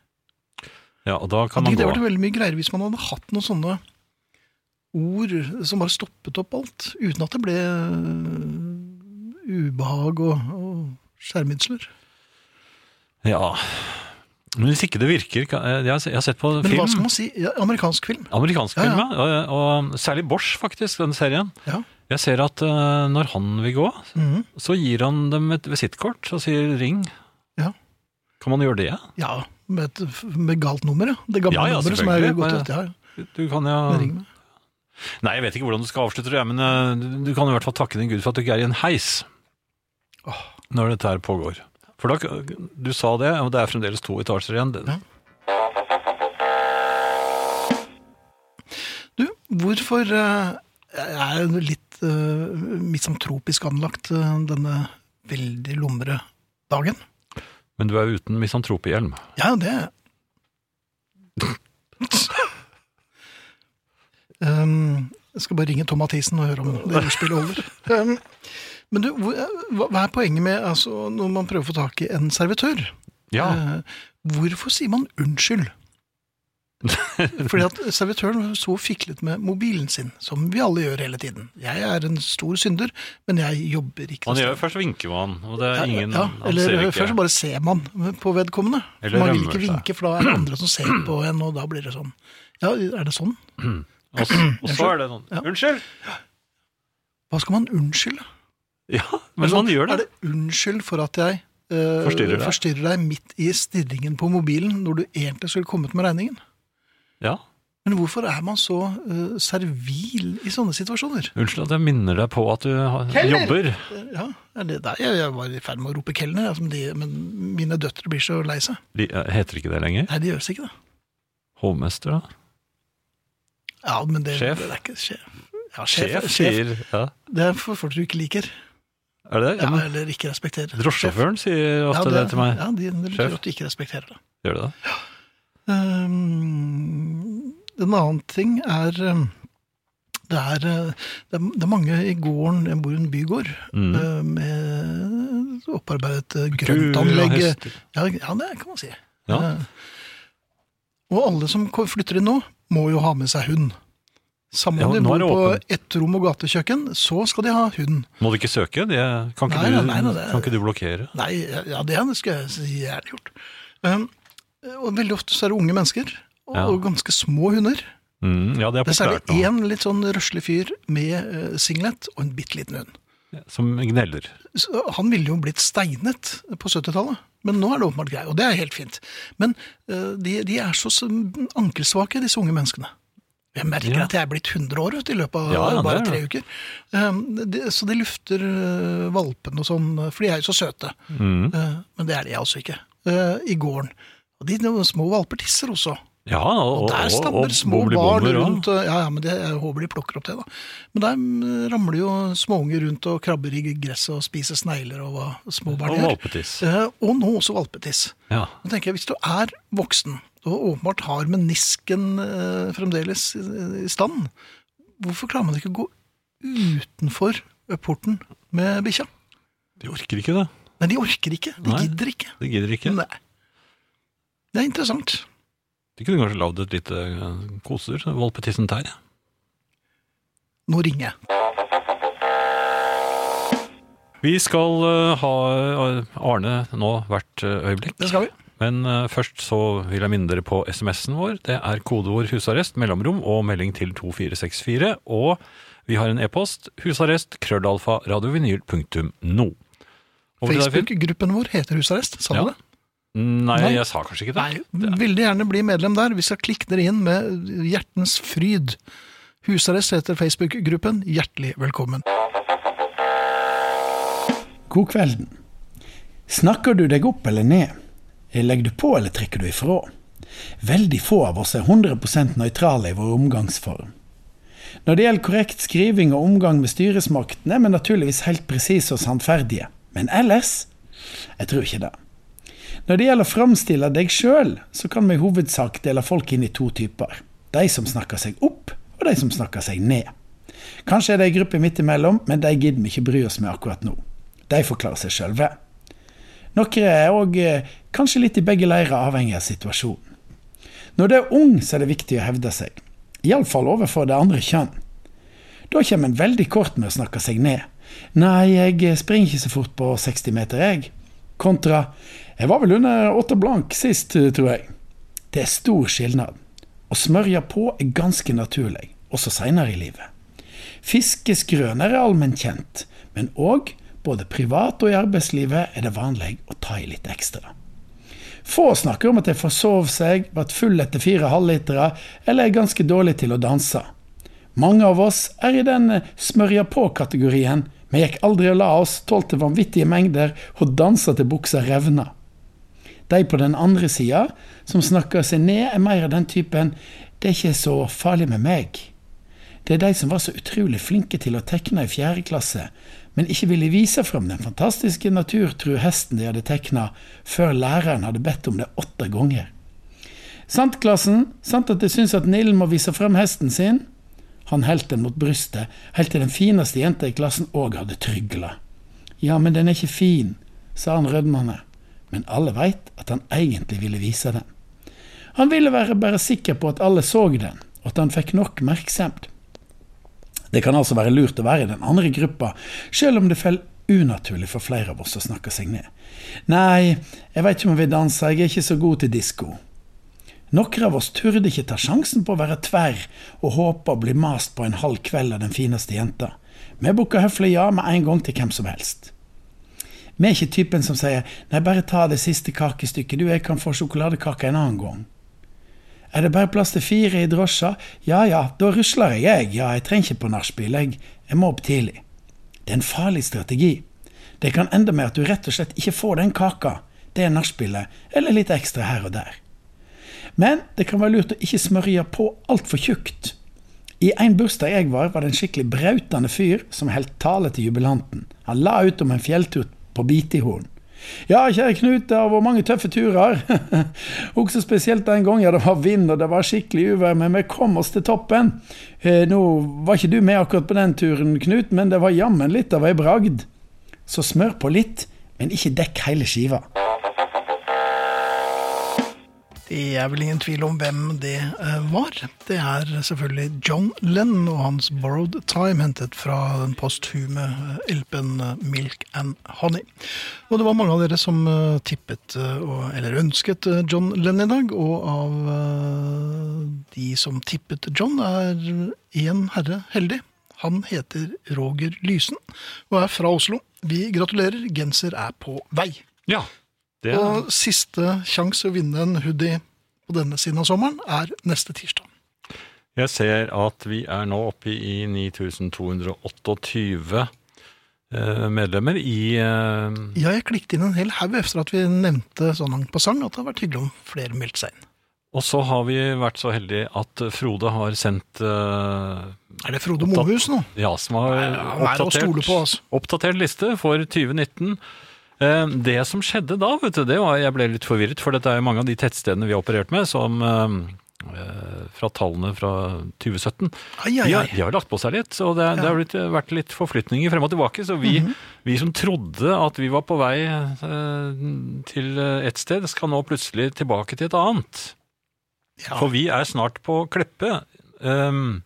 C: Ja, og da kan
B: Hadde
C: man
B: ikke det
C: gå.
B: vært veldig mye greiere hvis man hadde hatt noen sånne ord som bare stoppet opp alt, uten at det ble øh, ubehag og, og skjermidsler?
C: Ja. Men hvis ikke det virker kan- eh, Jeg har se- jeg har sett på
B: Men hva skal
C: film.
B: man si? Ja, amerikansk film.
C: Amerikansk
B: Ja, ja.
C: film, ja. Og, og særlig Bosch, faktisk, den serien.
B: Ja.
C: Jeg ser at eh, når han vil gå,
B: Mhm.
C: så gir han dem et visittkort og sier 'ring'.
B: Ja.
C: Kan man gjøre det?
B: ja med, et, med galt nummer, ja. Det gamle
C: Ja, ja,
B: nummeret som er
C: selvfølgelig.
B: gått
C: Ja,
B: ut. Ja, ja.
C: Du kan jo
B: Ring meg.
C: Nei, jeg vet ikke hvordan du skal avslutte det, men eh, du- du kan i hvert fall takke din Gud for at du ikke er i en heis når dette her pågår. For da, du sa det, og det er fremdeles to etasjer igjen. Det-
B: Ja. Du, hvorfor eh, jeg er jo litt uh, misantropisk anlagt eh, denne veldig lumre dagen?
C: Men du er uten misantropehjelm.
B: Ja, det er jeg. um, jeg skal bare ringe Tom Mathisen og høre om det ordspillet holder. Um, men du, hvor- eh, hva, hva er poenget med altså, når man prøver å få tak i en servitør?
C: Ja.
B: Eh, hvorfor sier man unnskyld? Fordi at servitøren så og fiklet med mobilen sin, som vi alle gjør hele tiden. Jeg er en stor synder, men jeg jobber ikke.
C: Han gjør først vinker man, og det er ingen
B: ja,
C: han
B: eller
C: ser ikke.
B: Først så bare ser man på vedkommende.
C: Eller
B: man vil
C: rømmer
B: ikke
C: seg.
B: vinke, for da er det andre som ser på en, og da blir det sånn. Ja, er det sånn?
C: Og, s- og så er det sånn
B: Ja.
C: 'Unnskyld!'
B: Hva skal man unnskylde?
C: Ja, men
B: Sånn,
C: man gjør
B: Er
C: det.
B: det unnskyld for at jeg eh,
C: Forstyrrer deg.
B: forstyrrer deg midt i stirringen på mobilen når du egentlig skulle kommet med regningen?
C: Ja.
B: Men hvorfor er man så eh, servil i sånne situasjoner?
C: Unnskyld at jeg minner deg på at du har- jobber.
B: Ja, er det der? Jeg, jeg var i ferd med å rope kelner, jeg, som de, men mine døtre blir så lei seg.
C: De, eh, heter ikke det lenger?
B: Nei, de gjør seg ikke det.
C: Hovmester, da?
B: Ja, men det,
C: Sjef?
B: det er ikke sjef. Ja, sjef, sjef.
C: Sjef, sier ja.
B: Det er for folk du ikke liker,
C: Er det det?
B: ja,
C: Ja, men
B: eller ikke respekterer.
C: Drosjesjåføren sier
B: Ja,
C: ofte det, til meg.
B: Ja, de, det betyr
C: Sjef.
B: at du ikke respekterer det.
C: Gjør det det?
B: Um, en annen ting er um, det er, uh, det er det er mange i gården Jeg bor i en bygård
C: Mm.
B: uh, med opparbeidet uh,
C: Kuer og
B: grøntanlegg.
C: hester.
B: Ja, ja, det kan man si.
C: Ja.
B: Uh, Og alle som ko- flytter inn nå, må jo ha med seg hund. Samme om
C: Ja,
B: de
C: nå
B: bor
C: er det
B: på
C: åpent.
B: ett rom og gatekjøkken, så skal de ha hund.
C: Må du ikke søke? Det kan, ikke
B: Nei,
C: du,
B: nei, nei, det-
C: kan ikke du blokkere?
B: Nei, ja, det skulle jeg si gjerne gjort. Um, og veldig ofte så er det unge mennesker, og,
C: Ja.
B: og ganske små hunder.
C: Mm, ja, det er
B: Det er særlig
C: populært nå.
B: én litt sånn røslig fyr med eh, singlet og en bitte liten hund.
C: Som gneller.
B: Så han ville jo blitt steinet på 70-tallet, men nå er det åpenbart grei, og det er helt fint. Men eh, de, de er så s- ankelsvake, disse unge menneskene. Jeg merker
C: Ja.
B: at jeg er blitt 100 år vet, du, i løpet av
C: Ja, ja, det
B: bare
C: er
B: tre uker. Um, det, så de lufter eh, valpene og sånn, for de er jo så søte.
C: Mm.
B: Eh, Men det er det jeg altså ikke. Eh, I gården. Og de de små valper tisser også.
C: Ja, og,
B: Og der
C: og, og,
B: stammer små barn
C: boblibobler
B: rundt.
C: òg.
B: eh, Ja, ja, men det, Jeg håper de plukker opp det, da. Men der mm, ramler jo småunger rundt og krabber i gresset og spiser snegler og hva små barn
C: Og
B: gjør.
C: valpetiss.
B: Eh, Og nå også valpetiss.
C: Ja.
B: Da tenker jeg, Hvis du er voksen og åpenbart har menisken eh, fremdeles i- i stand, hvorfor klarer man ikke å gå utenfor eh, porten med bikkja?
C: De orker ikke det.
B: Nei, de orker ikke. De
C: Nei.
B: gidder ikke.
C: De gidder ikke.
B: Nei. Det er interessant.
C: De kunne kanskje lagd et lite eh, koser, valpetissen Terje.
B: Nå ringer jeg.
C: Vi skal eh, ha eh, Arne nå hvert eh, øyeblikk.
B: Det skal vi.
C: Men eh, først så vil jeg minne dere på SMS-en vår. Det er kodeord husarrest, mellomrom og melding til 2464. Og vi har en e-post husarrest krøllalfa radiovinyl.no. Over til deg, Finn.
B: Facebook-gruppen vår heter Husarrest. Sa du
C: Ja.
B: det?
C: Nei,
B: Nei.
C: jeg sa kanskje ikke det.
B: Nei, veldig gjerne bli medlem der. Vi skal klikke dere inn med hjertens fryd. Husarrest heter Facebook-gruppen. Hjertelig velkommen.
D: God kvelden. Snakker du deg opp eller ned? Legger du på eller trekker du ifra? Veldig få av oss er 100 nøytrale i vår omgangsform. Når det gjelder korrekt skriving og omgang med styresmakten, er vi naturligvis helt presise og sannferdige. Men ellers? Jeg tror ikke det. Når det gjelder å framstille deg sjøl, så kan vi i hovedsak dele folk inn i to typer. De som snakker seg opp, og de som snakker seg ned. Kanskje er det ei gruppe midt imellom, men de gidder vi ikke bry oss med akkurat nå. De forklarer seg sjølve. Noen er òg kanskje litt i begge leirer, avhengig av situasjonen. Når du er ung, så er det viktig å hevde seg, iallfall overfor det andre kjønn. Da kommer en veldig kort med å snakke seg ned. Nei, jeg springer ikke så fort på 60 meter, jeg. Kontra jeg var vel under åtte blank sist, tror jeg. Det er stor skilnad. Å smørje på er ganske naturlig, også seinere i livet. Fiskeskrøner er allment kjent, men òg, både privat og i arbeidslivet, er det vanlig å ta i litt ekstra. Få snakker om at de forsov seg, vært full etter fire halvlitere eller er ganske dårlig til å danse. Mange av oss er i den eh, smørja på-kategorien. Vi gikk aldri og la oss, tålte vanvittige mengder og dansa til buksa revna. De på den andre sida, som snakker seg ned, er mer av den typen 'det er ikke så farlig med meg'. Det er de som var så utrolig flinke til å tekne i fjerde klasse, men ikke ville vise fram den fantastiske naturtru hesten de hadde tekna, før læreren hadde bedt om det åtte ganger. Sant, klassen? Sant at de syns at Nillen må vise fram hesten sin? Han holdt den mot brystet, helt til den fineste jenta i klassen òg hadde trygla. Ja, men den er ikke fin, sa han rødmende, men alle veit at han egentlig ville vise den. Han ville være bare sikker på at alle så den, og at han fikk nok oppmerksomhet. Det kan altså være lurt å være i den andre gruppa, selv om det faller unaturlig for flere av oss å snakke seg ned. Nei, jeg veit ikke om jeg vil danse, jeg er ikke så god til disko. Noen av oss turde ikke ta sjansen på å være tverr og håpe å bli mast på en halv kveld av den fineste jenta. Vi booker høflig ja med en gang til hvem som helst. Vi er ikke typen som sier 'nei, bare ta det siste kakestykket, du, jeg kan få sjokoladekake en annen gang'. Er det bare plass til fire i drosja? Ja ja, da rusler jeg, jeg. Ja, jeg trenger ikke på nachspiel, jeg. Jeg må opp tidlig. Det er en farlig strategi. Det kan ende med at du rett og slett ikke får den kaka, det nachspielet, eller litt ekstra her og der. Men det kan være lurt å ikke smørje på altfor tjukt. I en bursdag jeg var, var det en skikkelig brautende fyr som holdt tale til jubilanten. Han la ut om en fjelltur på Bitihorn. Ja, kjære Knut, det har vært mange tøffe turer. Også spesielt den gangen det var vind og det var skikkelig uvær, men vi kom oss til toppen. Eh, nå var ikke du med akkurat på den turen, Knut, men det var jammen litt av ei bragd. Så smør på litt, men ikke dekk hele skiva.
B: Det er vel ingen tvil om hvem det eh, var. Det er selvfølgelig John Lennon og hans 'Borrowed Time', hentet fra den posthume eh, LP-en eh, 'Milk and Honey'. Og det var mange av dere som eh, tippet, eh, og, eller ønsket, eh, John Lennon i dag. Og av eh, de som tippet John, er én herre heldig. Han heter Roger Lysen og er fra Oslo. Vi gratulerer, genser er på vei.
C: Ja. Det er,
B: Og siste sjanse å vinne en hoodie på denne siden av sommeren er neste tirsdag.
C: jeg ser at vi er nå oppe i 9228 eh, medlemmer i eh,
B: Ja, jeg klikket inn en hel haug etter at vi nevnte sånn en passant at det har vært hyggelig om flere meldte seg inn.
C: Og så har vi vært så heldige at Frode har sendt eh,
B: Er det Frode Mohus nå?
C: Ja, som har
B: han er å stole
C: oppdatert,
B: på, altså.
C: oppdatert liste for 2019. Eh, Det som skjedde da, vet du, det var Jeg ble litt forvirret, for dette er jo mange av de tettstedene vi har operert med, som eh, eh, fra tallene fra 2017.
B: Ai, ai,
C: De har,
B: ai.
C: de har lagt på seg litt, og det, det har blitt, vært litt forflytninger frem og tilbake. Så vi, vi som trodde at vi var på vei eh, til et sted, skal nå plutselig tilbake til et annet.
B: Ja.
C: For vi er snart på Kleppe. Ehm,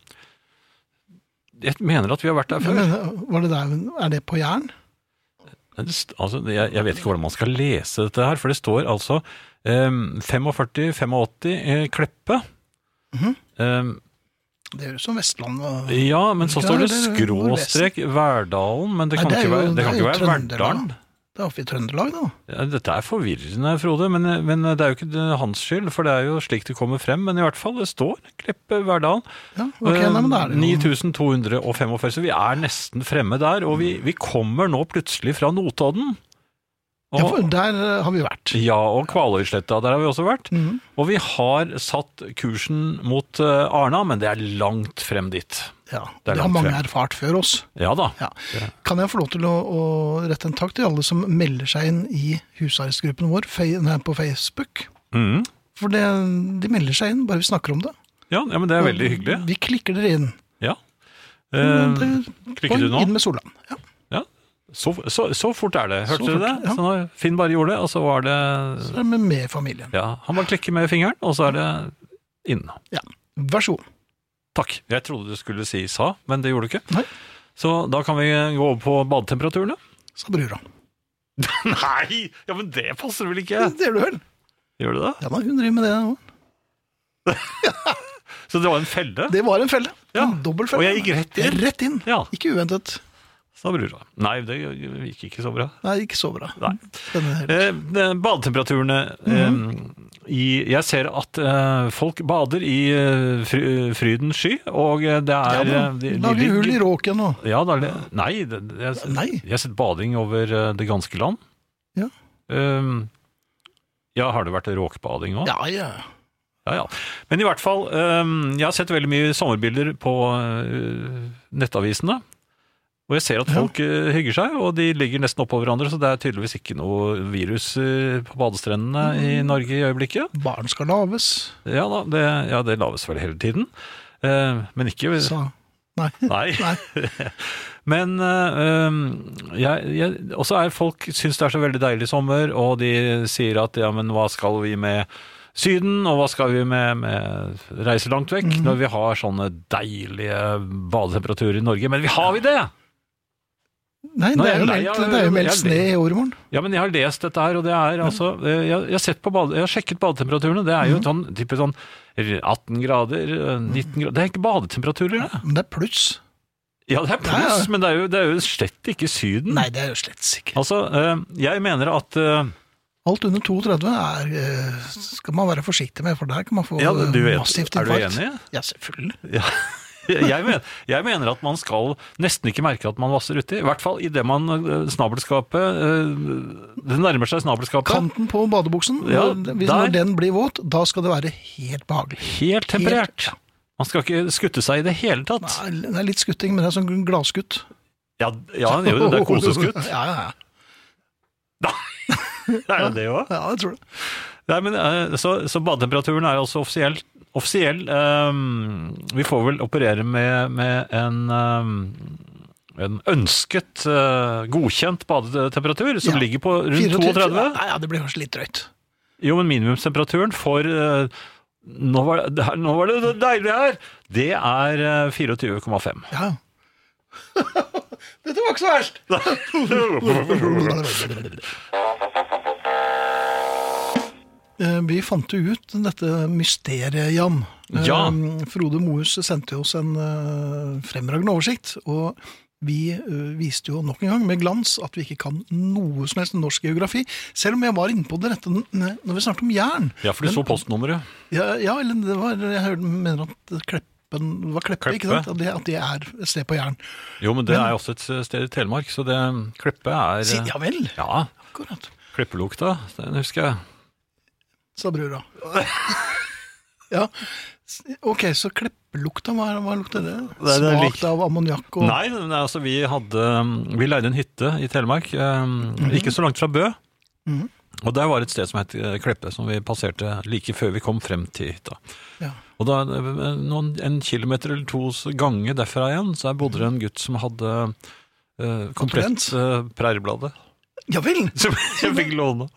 C: jeg mener at vi har vært der
B: Jeg
C: før.
B: mener, var det der, er det på Jæren?
C: Men det st- Altså, jeg, jeg vet ikke hvordan man skal lese dette her, for det står altså ehm, 45-85 eh, Kleppe. Ehm,
B: Det høres som Vestland. og-
C: ja, men så
B: Ja,
C: står det
B: det er jo
C: skråstrek Verdalen, men det
B: Nei,
C: kan
B: det er
C: ikke
B: jo-
C: være, det kan
B: det er
C: ikke
B: jo
C: være
B: Trøndelag.
C: Verdalen.
B: Det er oppe i Trøndelag, da.
C: Ja, Dette er forvirrende, Frode, men, men det er jo ikke det- hans skyld, for det er jo slik det kommer frem. Men i hvert fall, det står Kleppe Verdalen.
B: Ja, ok, nei, men da er
C: Eh,
B: det jo...
C: 9245, så vi er nesten fremme der. Og vi, vi kommer nå plutselig fra Notodden.
B: Ja, for
C: Og,
B: der eh, har vi vært.
C: ja, og Kvaløysletta, der har vi også vært.
B: Mhm.
C: Og vi har satt kursen mot eh, Arna, men det er langt frem dit.
B: Ja,
C: Det
B: det
C: er
B: har
C: langt
B: mange
C: frem.
B: erfart før oss.
C: Ja da.
B: Ja. Kan jeg få lov til å, å rette en takk til alle som melder seg inn i husarrestgruppen vår fe- nei, på Facebook?
C: Mhm.
B: For det, de melder seg inn, bare vi snakker om det.
C: Ja, ja, men det er veldig hyggelig.
B: Vi klikker dere inn.
C: Ja.
B: Men
C: Eh,
B: det-
C: klikker du
B: Poeng,
C: nå?
B: Inn med Solan. Ja.
C: Ja. Så, så, så fort er det.
B: Så
C: Hørte dere det?
B: fort, ja.
C: Så når Finn bare gjorde det, og så var det
B: Så er vi med i familien.
C: Ja, han bare klikker med fingeren, og så er det inn.
B: Ja. Vær så god.
C: Takk. Jeg trodde du skulle si sa, men det gjorde du ikke.
B: Nei.
C: Så da kan vi gå over på badetemperaturene.
B: Sa brura.
C: Nei! Ja, men det passer vel ikke?
B: Mm, Det gjør du vel?
C: Gjør det det?
B: Ja da, hun driver med det òg.
C: Så det var en felle?
B: Det var en felle.
C: Ja.
B: En dobbel felle.
C: Og jeg gikk rett inn.
B: Rett inn.
C: Ja,
B: Ikke uventet.
C: sa brura. Nei, det gikk ikke så bra.
B: Nei, ikke så bra.
C: Nei.
B: Denne,
C: Eh, det- badetemperaturene eh, i, Jeg ser at eh, folk bader i eh, fry, frydens sky, og eh, det
B: ja,
C: er eh,
B: da.
C: de- de
B: Lager hull i
C: ligger-
B: råken og
C: Ja, da, le- nei, det, det- jeg,
B: Nei.
C: jeg har sett bading over eh, det ganske land.
B: Ja.
C: Ehm, ja, har det vært råkbading òg?
B: Ja, ja.
C: Ja, ja. Men i hvert fall, ehm, jeg har sett veldig mye sommerbilder på eh, nettavisene. Og jeg ser at
B: Ja.
C: folk eh, hygger seg, og de ligger nesten oppå hverandre, så det er tydeligvis ikke noe virus eh, på badestrendene i
B: Mm.
C: Norge i øyeblikket.
B: Barn skal laves,
C: Ja da, det, ja, det laves vel hele tiden. Eh, men ikke
B: sa Nei.
C: Nei.
B: Nei.
C: Men øh, jeg, jeg, også er folk syns det er så veldig deilig sommer, og de sier at ja, men hva skal vi med Syden, og hva skal vi med, med reise langt vekk
B: Mhm.
C: når vi har sånne deilige badetemperaturer i Norge? Men vi har vi det!
B: Nei,
C: Nå
B: det
C: er
B: er jo
C: jeg lei
B: meldt,
C: av-
B: det er jo
C: jeg
B: meldt
C: er
B: sne
C: lei.
B: i overmorgen.
C: Ja, men jeg har lest dette her, og det er altså eh, Jeg, jeg, har, sett på bade, jeg har sjekket badetemperaturene. Det
B: Mhm.
C: er jo sånn, type sånn 18 grader, eh, 19 grader Det er ikke badetemperaturer, det.
B: Men det er pluss.
C: Ja, det er pluss,
B: Ja, ja.
C: men det er, jo, det er jo slett ikke Syden.
B: Nei, det er jo slett sikkert.
C: Altså, eh, jeg mener at eh,
B: Alt under 32 er, eh, skal man være forsiktig med, for der kan man få
C: Ja, du vet-
B: eh, massivt
C: er du
B: infarkt.
C: enig?
B: Ja, selvfølgelig.
C: Ja. Jeg, men, jeg mener at man skal nesten ikke merke at man vasser uti. I hvert fall idet man eh, snabelskapet eh, Det nærmer seg snabelskapet.
B: Kanten på badebuksen,
C: Ja,
B: når- hvis
C: der.
B: når den blir våt, da skal det være helt behagelig.
C: Helt temperert. Man skal ikke skutte seg i det hele tatt.
B: Nei, Det er litt skutting, men det er sånn gladskutt.
C: Ja, ja det er jo det. Det er koseskutt.
B: Ja, ja, ja.
C: Det er jo det òg.
B: ja, jeg tror det.
C: Nei, men, eh, så, så badetemperaturen er altså offisiell. offisiell eh, vi får vel operere med, med en eh, en ønsket, eh, godkjent badetemperatur som
B: Ja.
C: ligger på rundt
B: 24
C: 32.
B: Nei, ja, det blir kanskje litt drøyt.
C: Jo, men minimumstemperaturen for eh, nå, var det, der- nå var det det deilige her! Det er eh, 24,5.
B: Ja. Dette var ikke så verst! Eh, Vi fant jo ut dette mysteriet, Jan. Eh,
C: Ja.
B: Frode Mohus sendte oss en eh, fremragende oversikt. Og vi eh, viste jo nok en gang med glans at vi ikke kan noe som helst om norsk geografi. Selv om jeg var inne på det rette n- når vi snakket om jern.
C: Ja, for du så postnummeret.
B: Ja, ja eller det var, jeg hørte- mener at Kleppen det var Kleppe, ikke
C: Kleppe.
B: sant? At det, at det er et sted på jern.
C: Jo, men det er jo også et sted i Telemark, så det Kleppe er
B: Si,
C: eh,
B: ja vel,
C: Ja,
B: akkurat,
C: Klippelukta, den husker jeg.
B: sa brura. ja, s- ok, så kleppelukta, hva, hva lukter det?
C: det er
B: Smak
C: lik-
B: av ammoniakk og
C: Nei, men altså vi hadde Vi leide en hytte i Telemark, eh, ikke så langt fra Bø.
B: Mhm.
C: Og der var et sted som het eh, Kleppe, som vi passerte like før vi kom frem til hytta.
B: Ja.
C: Og da, eh, noen, en kilometer eller to s- gange derfra igjen, så her bodde det en gutt som hadde eh, komplett
B: Konsulent?
C: eh, Præriebladet,
B: Ja vel,
C: som jeg fikk låne.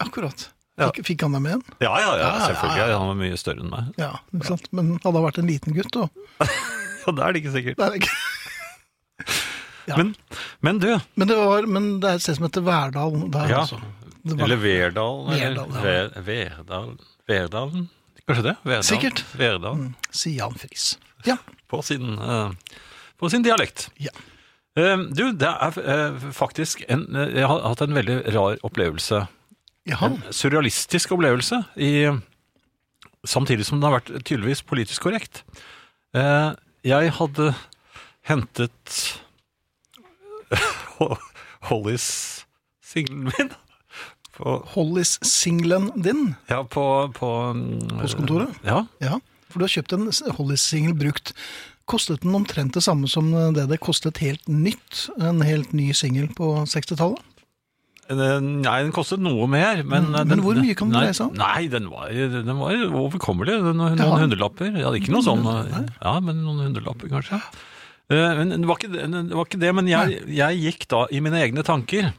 B: akkurat.
C: Ja.
B: Fikk, fikk han deg med igjen?
C: Ja, ja, ja,
B: Ja, ja,
C: selvfølgelig. Han var mye større enn meg.
B: Ja, ikke sant? Men hadde han vært en liten gutt, da?
C: Ja, det er det ikke sikkert.
B: Det er det ikke. Ja.
C: Men, men du,
B: Men det, var, men det er et sted som heter Verdal der,
C: Ja.
B: altså. Det var,
C: Eller Verdal. eller
B: Verdal, ja.
C: Ver- Verdal. Verdalen? Kanskje det? Verdal.
B: Sikkert.
C: Verdal.
B: Sian Mm, Friis. Ja.
C: På, sin, eh, på sin dialekt.
B: Ja.
C: Eh, du, det er eh, faktisk en, eh, Jeg har hatt en veldig rar opplevelse.
B: Jaha.
C: En surrealistisk opplevelse, i, samtidig som den har vært tydeligvis politisk korrekt. Eh, jeg hadde hentet Hollys singelen min på
B: Hollis-singelen din?
C: Ja, på, på mm,
B: Postkontoret?
C: Ja.
B: Ja, for du har kjøpt en Hollis-singel brukt. Kostet den omtrent det samme som eh, det det kostet helt nytt, en helt ny singel på 60-tallet?
C: Den- Eh, Nei, den kostet noe mer, men eh,
B: Mm, men hvor mye kan det
C: nei,
B: dreie seg om?
C: Nei, den var, den var overkommelig. Den, noen
B: Jaha.
C: hundrelapper. Ja, ikke noe sånn Ja, men noen hundrelapper, kanskje. Eh, Men det var ikke, det var ikke det, men jeg, jeg gikk da i mine egne tanker.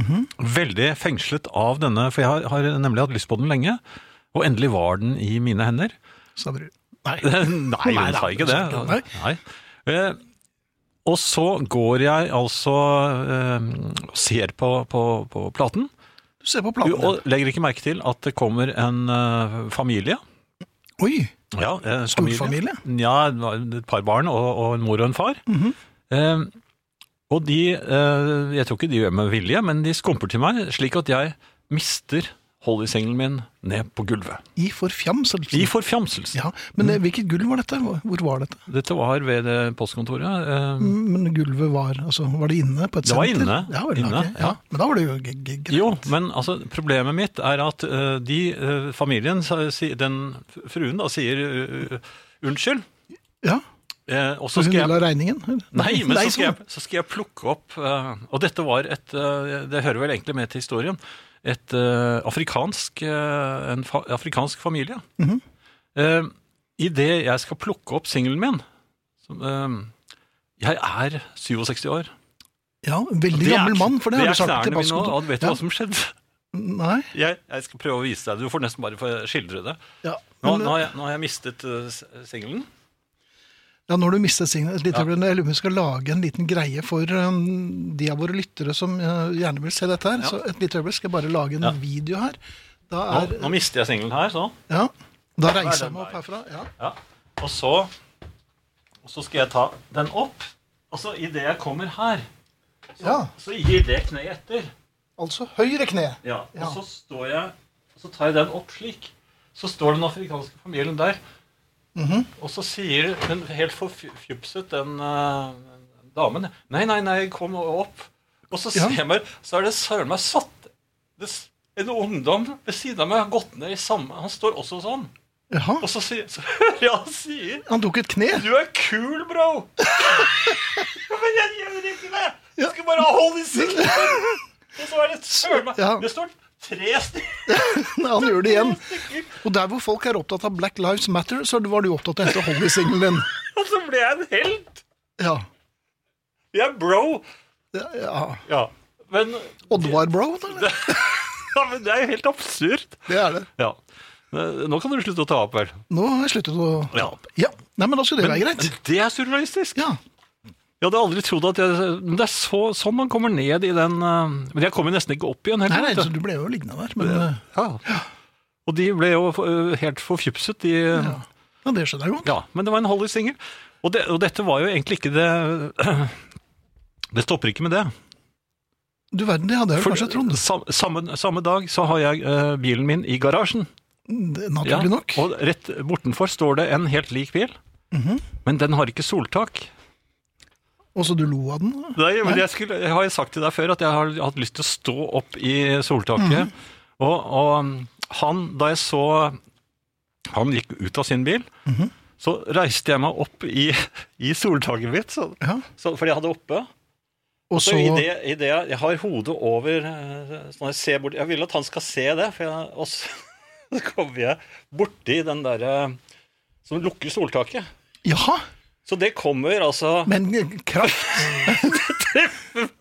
B: Mhm.
C: Veldig fengslet av denne, for jeg har, har nemlig hatt lyst på den lenge. Og endelig var den i mine hender.
B: sa du. Nei.
C: Nei, hun
B: da,
C: sa ikke
B: hun
C: det.
B: sa ikke det,
C: Nei. Eh, og så går jeg altså eh, og ser på, på, på platen,
B: Du ser på
C: jo,
B: platen. din.
C: og legger ikke merke til at det kommer en eh, familie.
B: Oi!
C: Ja, eh,
B: Storfamilie?
C: Ja, det var et par barn og, og en mor og en far.
B: Mhm.
C: eh, og de, eh, jeg tror ikke de gjør meg vilje, men de skumper til meg slik at jeg mister Holly-sengelen min ned på gulvet.
B: I forfjamselsen.
C: I Mm. forfjamselsen.
B: Ja, men eh, hvilket gulv var dette? Hvor- Hvor var dette? Mm,
C: Dette var ved det postkontoret. Eh,
B: Men gulvet var altså, Var det inne på et
C: Det var
B: senter?
C: inne.
B: Ja, vel,
C: Inne,
B: ok, ja.
C: ja.
B: Men da var det jo g- g- greit.
C: Jo, men altså, problemet mitt er at eh, de, eh, familien, sa- si- den f- fruen da, sier eh, unnskyld,
B: Ja,
C: eh, og
B: så
C: så
B: hun
C: skal
B: ville ha
C: jeg...
B: regningen? eller?
C: Nei, men så skal
B: sånn.
C: jeg, så skal jeg plukke opp, eh, og dette var et, eh, det hører vel egentlig med til historien, et eh, afrikansk, eh, en fa afrikansk familie.
B: Mhm.
C: Eh, I det jeg skal plukke opp singelen min, som, eh, jeg er 67 år.
B: Ja, veldig
C: Det er-
B: gammel mann, for det, har du sagt til
C: Det er knærne mine,
B: passkontoret.
C: og vet du hva som skjedde?
B: Nei,
C: Jeg, jeg skal prøve å vise deg. Du får nesten bare få skildre det.
B: ja.
C: Nå,
B: men-
C: nå, har, jeg, nå har jeg mistet eh, s- singelen.
B: Ja, når du mistet signet litt,
C: Ja.
B: Jeg lurer på om vi skal lage en liten greie for um, de av våre lyttere som uh, gjerne vil se dette her.
C: Ja.
B: Så et lite øyeblikk skal jeg bare lage en
C: Ja.
B: video her. Da
C: Nå,
B: er
C: nå mister jeg singelen her, sånn.
B: Ja. Da reiser
C: den
B: jeg meg opp
C: der?
B: herfra. Ja.
C: Ja. Og så Og så skal jeg ta den opp. Og så idet jeg kommer her,
B: ja.
C: så gir det kneet etter.
B: Altså høyre kne.
C: Ja,
B: Ja.
C: og så står jeg Så tar jeg den opp slik. Så står den afrikanske familien der. Og så sier hun helt forfjupset, den eh, damen Nei, nei, nei, kom opp. Og så ser jeg meg, så er det søren meg satt det, s- En ungdom ved siden av meg har gått ned i samme Han står også sånn.
B: Jaha.
C: Og så sier så, hører jeg han sier
B: Han tok et kne.
C: du er kul, bro! Men jeg gjør ikke det! Jeg skal bare holde i sikten! Og så er det søren meg
B: Ja.
C: Det står tre stykker
B: Nei, Han gjør det igjen. Og der hvor folk er opptatt av Black Lives Matter, så var du opptatt av dette Holly-singelen din.
C: Og så ble jeg en helt!
B: Ja.
C: Jeg er bro!
B: ja.
C: Ja. Men,
B: Oddvar Bro, eller?
C: ja, men det er jo helt absurd.
B: Det er det.
C: Ja. Men Nå kan du slutte å ta opp, vel?
B: Nå har jeg sluttet å
C: Ja.
B: Ja. Nei, men da skulle det være greit.
C: Det er surrealistisk!
B: Ja.
C: Jeg hadde aldri trodd at jeg Men det er så, sånn man kommer ned i den eh, Men jeg kommer nesten ikke opp igjen
B: Nei,
C: heller.
B: nei,
C: vet du.
B: så du ble jo liggende der, men eh,
C: ja. Og de ble jo eh, helt forfjupset, de ja.
B: ja, det skjønner jeg godt.
C: Ja, men det var en Holly-singel. Og, det- og dette var jo egentlig ikke det Det stopper ikke med det.
B: Du verden, det hadde jeg vel
C: For
B: kanskje trodd.
C: sam- samme, samme dag så har jeg eh, bilen min i garasjen.
B: Det-
C: Ja,
B: Naturlig nok.
C: Og rett bortenfor står det en helt lik bil. Men den har ikke soltak.
B: Mhm. Og så du lo av den.
C: Nei, men jeg, skulle, jeg har jo sagt til deg før at jeg har hatt lyst til å stå opp i soltaket. Og, og han, da jeg så Han gikk ut av sin bil. Så reiste jeg meg opp i, i soltaket mitt, så,
B: Ja.
C: så, fordi jeg hadde oppe.
B: Og
C: Så
B: så
C: i det, i det jeg, jeg har hodet over eh, sånn jeg, ser bort, jeg vil at han skal se det, for jeg, og så så kommer jeg borti den derre som lukker soltaket.
B: Jaha!
C: Så det kommer, altså
B: Men eh, kraft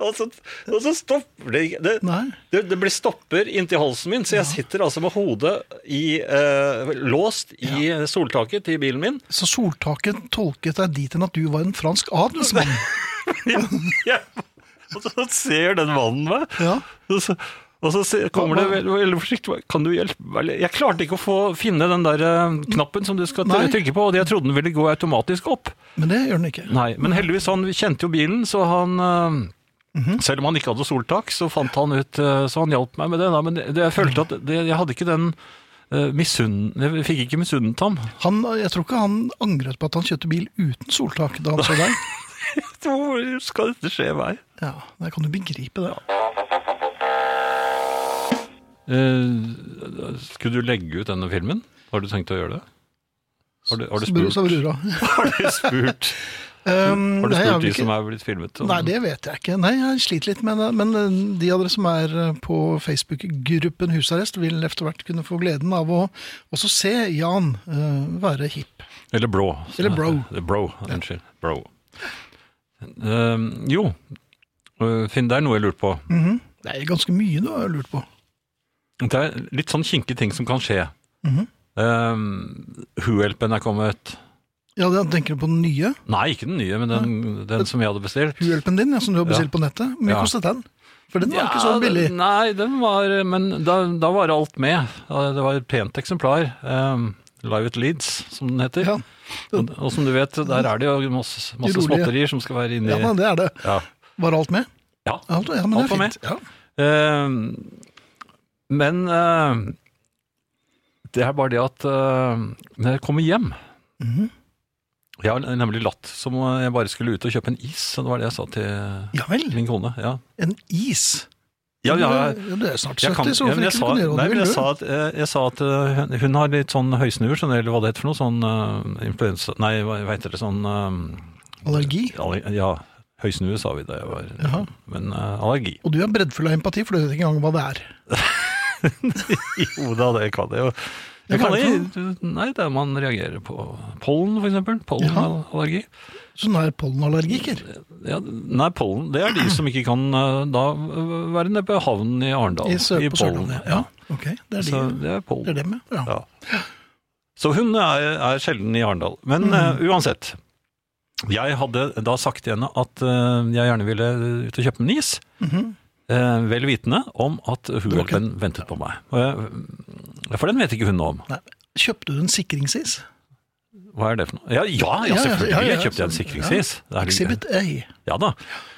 C: Og så, og så stopper det ikke. Det,
B: Nei.
C: det, det blir stopper inntil halsen min, så jeg sitter altså med hodet i, eh, låst i soltaket til bilen min.
B: Så soltaket tolket deg dit hen at du var en fransk adelsmann.
C: Ja. Og så ser den mannen meg.
B: Ja.
C: Og så, og så se- kommer det veldig, veldig forsiktig Kan du hjelpe meg? Eller, Jeg klarte ikke å få, finne den der eh, knappen som du skal
B: Nei.
C: trykke på, og jeg trodde den ville gå automatisk opp.
B: Men det gjør den ikke.
C: Nei, Men heldigvis, han kjente jo bilen, så han eh, Selv om han ikke hadde soltak, så fant han ut eh, Så han hjalp meg med det. Da. Men det, det, jeg følte at det, jeg hadde ikke den eh, misunn... Jeg fikk ikke misunnet ham.
B: Han, jeg tror ikke han angret på at han kjøpte bil uten soltak da han så deg.
C: Hvor skal dette skje meg?
B: Ja, Jeg kan jo begripe det.
C: Eh, skulle du legge ut denne filmen? Har du tenkt å gjøre det? Har du, har du
B: Så bru-
C: spurt,
B: så brura.
C: har du spurt,
B: Um,
C: har du
B: nei, jeg
C: spurt
B: vil
C: de
B: ikke-
C: som er blitt filmet? om-
B: Nei, det vet jeg ikke. Nei, Jeg sliter litt med det. Men eh, de av dere som er eh, på Facebook-gruppen Husarrest, vil etter hvert kunne få gleden av å også se Jan eh, være hipp.
C: Eller bro.
B: Eller bro.
C: Eh, Bro, unnskyld. Bro. Eh, jo, Eh, Finn, det er noe jeg lurer på.
B: Det er ganske mye du har lurt på.
C: Det er litt sånn kinkige ting som kan skje.
B: Mhm.
C: Eh, Huhjelpen er kommet.
B: Ja, da Tenker du på den nye
C: Nei, ikke den nye, men den, den som jeg hadde bestilt.
B: uhjelpen din, ja, som du har bestilt
C: Ja.
B: på nettet? Hvor mye
C: Ja.
B: kostet den? For den var ikke
C: Ja,
B: så billig.
C: den- Nei, den var, men da, da var alt med. Ja, Det var et pent eksemplar. Um, Live at Leeds, som den heter.
B: Ja.
C: Og, og som du vet, der er det jo masse, masse
B: De rolige.
C: småtterier som skal være inni
B: Ja, men det er det.
C: Ja.
B: Var alt med?
C: Ja.
B: Alt, ja, men det
C: Alt
B: er
C: var
B: fint. Ja.
C: Um, men um, det er bare det at um, når jeg kommer hjem
B: Mhm.
C: Jeg har nemlig latt som om jeg bare skulle ut og kjøpe en is. og Det var det jeg sa til
B: ja vel.
C: min kone. Ja,
B: En is.
C: ja, ja
B: Du er- Du er snart
C: Jeg, kan,
B: 70, så
C: ja,
B: hvorfor
C: men jeg,
B: ikke du
C: sa,
B: kan gjøre hva du
C: nei, men
B: vil?
C: jeg,
B: du?
C: sa at, eh, jeg sa at eh, hun- hun har litt sånn høysnuer, sånn, eller hva det heter for noe, sånn eh, influensa Nei, hva hva heter det, sånn eh,
B: Allergi.
C: alle- Ja, høysnue sa vi da jeg var
B: Jaha.
C: Men eh, allergi.
B: Og du er breddfull av empati, for du vet ikke engang hva det er.
C: Jo da, det kan jeg jo.
B: Ja,
C: Jeg kan
B: hva er det
C: det, nei, det er man reagerer på pollen, for eksempel.
B: Jaha.
C: Pollenallergi.
B: Så nå Sånn er pollenallergiker.
C: Ja, nei, pollen, det er de som ikke kan eh, da eh, være nede på havnen i Arendal.
B: I sør på Sørlandet. Ja.
C: Ja.
B: Ok, det er, de,
C: Så det er pollen.
B: det er dem, ja. ja.
C: Ja. Så hun er, er sjelden i Arendal. Men
B: Mm.
C: eh, uansett. Jeg hadde da sagt til henne at eh, jeg gjerne ville ut og kjøpe en is.
B: Mm-hmm.
C: eh, vel vitende om at huhjelpen ventet på meg. Og jeg- For den vet ikke hun noe om.
B: Nei. Kjøpte du en sikringsis?
C: Hva er det for noe? Ja, ja, ja
B: Ja, ja,
C: selvfølgelig
B: ja, ja,
C: jeg kjøpte jeg en
B: så-
C: sikringsis. Det er-
B: Exhibit A.
C: Ja da.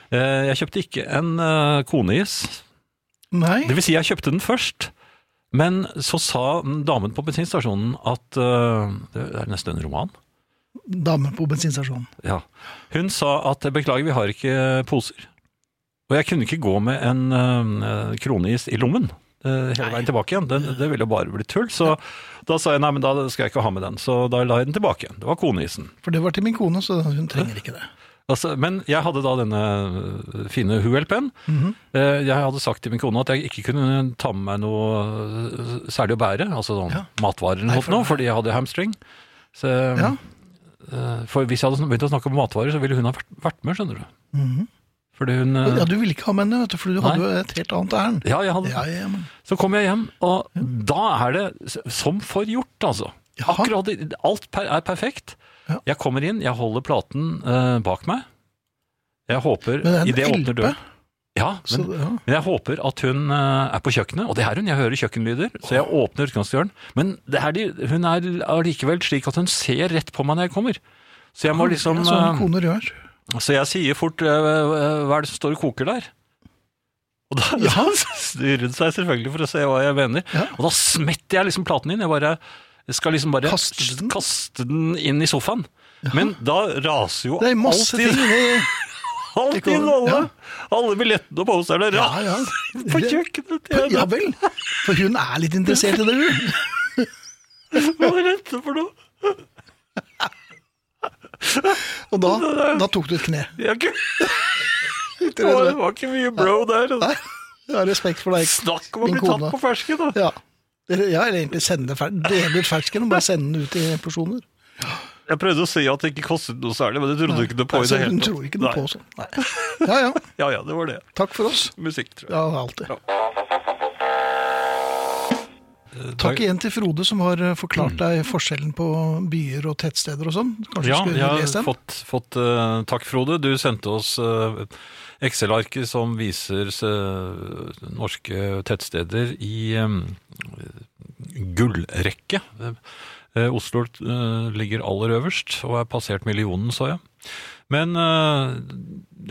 C: Eh, Jeg kjøpte ikke en eh, koneis.
B: Nei.
C: Det vil si, jeg kjøpte den først. Men så sa damen på bensinstasjonen at øh, Det er nesten en roman.
B: Dame på bensinstasjonen.
C: Ja. Hun sa at beklager, vi har ikke poser. Og jeg kunne ikke gå med en øh, kroneis i lommen øh, hele veien tilbake igjen. Det, det ville jo bare bli tull. Så da sa jeg nei, men da skal jeg ikke ha med den. Så da la jeg den tilbake igjen. Det var koneisen.
B: For det var til min kone, så hun trenger ikke det.
C: Altså, men jeg hadde da denne øh, fine Huel-penn.
B: Mhm.
C: Eh, Jeg hadde sagt til min kone at jeg ikke kunne ta med meg noe øh, særlig å bære, altså sånn
B: Ja.
C: matvarer eller
B: Nei,
C: noe,
B: for-
C: sånt nå, fordi jeg hadde hamstring. Så,
B: Ja.
C: eh, for hvis jeg hadde sn- begynt å snakke om matvarer, så ville hun ha vært, vært med, skjønner du.
B: Mhm.
C: Fordi hun eh,
B: Ja, Du ville ikke ha med henne, vet du, for du hadde
C: Nei.
B: jo et helt annet ærend.
C: Ja, jeg hadde
B: Ja, ja, men-
C: Så kom jeg hjem, og da er det s- som forgjort, altså.
B: Jaha.
C: Akkurat, i- alt per, er perfekt.
B: Ja.
C: Jeg kommer inn, jeg holder platen eh, bak meg. Jeg håper
B: Men det er en
C: i det jeg åpner
B: LP,
C: døren. Ja,
B: så
C: men,
B: det- ja.
C: men jeg håper at hun eh, er på kjøkkenet, og det er hun. Jeg hører kjøkkenlyder, så jeg åpner utgangsdøren. Men det er, de- hun er allikevel slik at hun ser rett på meg når jeg kommer. Så jeg må liksom
B: Ja, sånn
C: eh,
B: koner gjør.
C: så jeg sier fort eh, hva er det som står og koker der? Og da, da snur hun seg selvfølgelig for å se hva jeg mener.
B: Ja.
C: Og da smetter jeg liksom platen inn. Jeg bare jeg skal liksom bare
B: Kaster den?
C: kaste den inn i sofaen. Men da raser jo
B: Det er masse ting
C: alt inn-
B: i
C: alt
B: det
C: inn
B: går-
C: alle,
B: ja.
C: alle billettene og posterne
B: Ja,
C: raser
B: ja.
C: på kjøkkenet til
B: Ja
C: henne.
B: vel. For hun er litt interessert i det, hun.
C: Hva er dette for noe?
B: Og da, da tok du et kne.
C: Jeg har ikke, det var, det var ikke mye bro der. altså.
B: Nei, jeg har respekt for deg.
C: Snakk om å
B: Min
C: bli tatt
B: kone.
C: på fersken, da.
B: Ja. Eller- Ja, eller egentlig sende det fer- dele ut fersken og bare sende den ut i porsjoner.
C: Jeg prøvde å si at det ikke kostet noe særlig, men det trodde du ikke noe på i
B: Altså,
C: det hele
B: hun tror ikke noe
C: Nei.
B: på sånn. Nei. Ja ja,
C: Ja, ja, det var det.
B: takk for oss.
C: Musikk, tror jeg.
B: Ja, alltid.
C: Ja.
B: Takk igjen til Frode som har eh,
C: Mm.
B: forklart deg forskjellen på byer og tettsteder og sånn. Kanskje
C: Ja,
B: du skulle
C: jeg
B: lese
C: har
B: den?
C: fått, fått eh, Takk, Frode. Du sendte oss eh, Excel-arket som viser eh, norske tettsteder i eh, gullrekke. Eh, Oslo eh, ligger aller øverst og er passert millionen, så jeg. Men eh,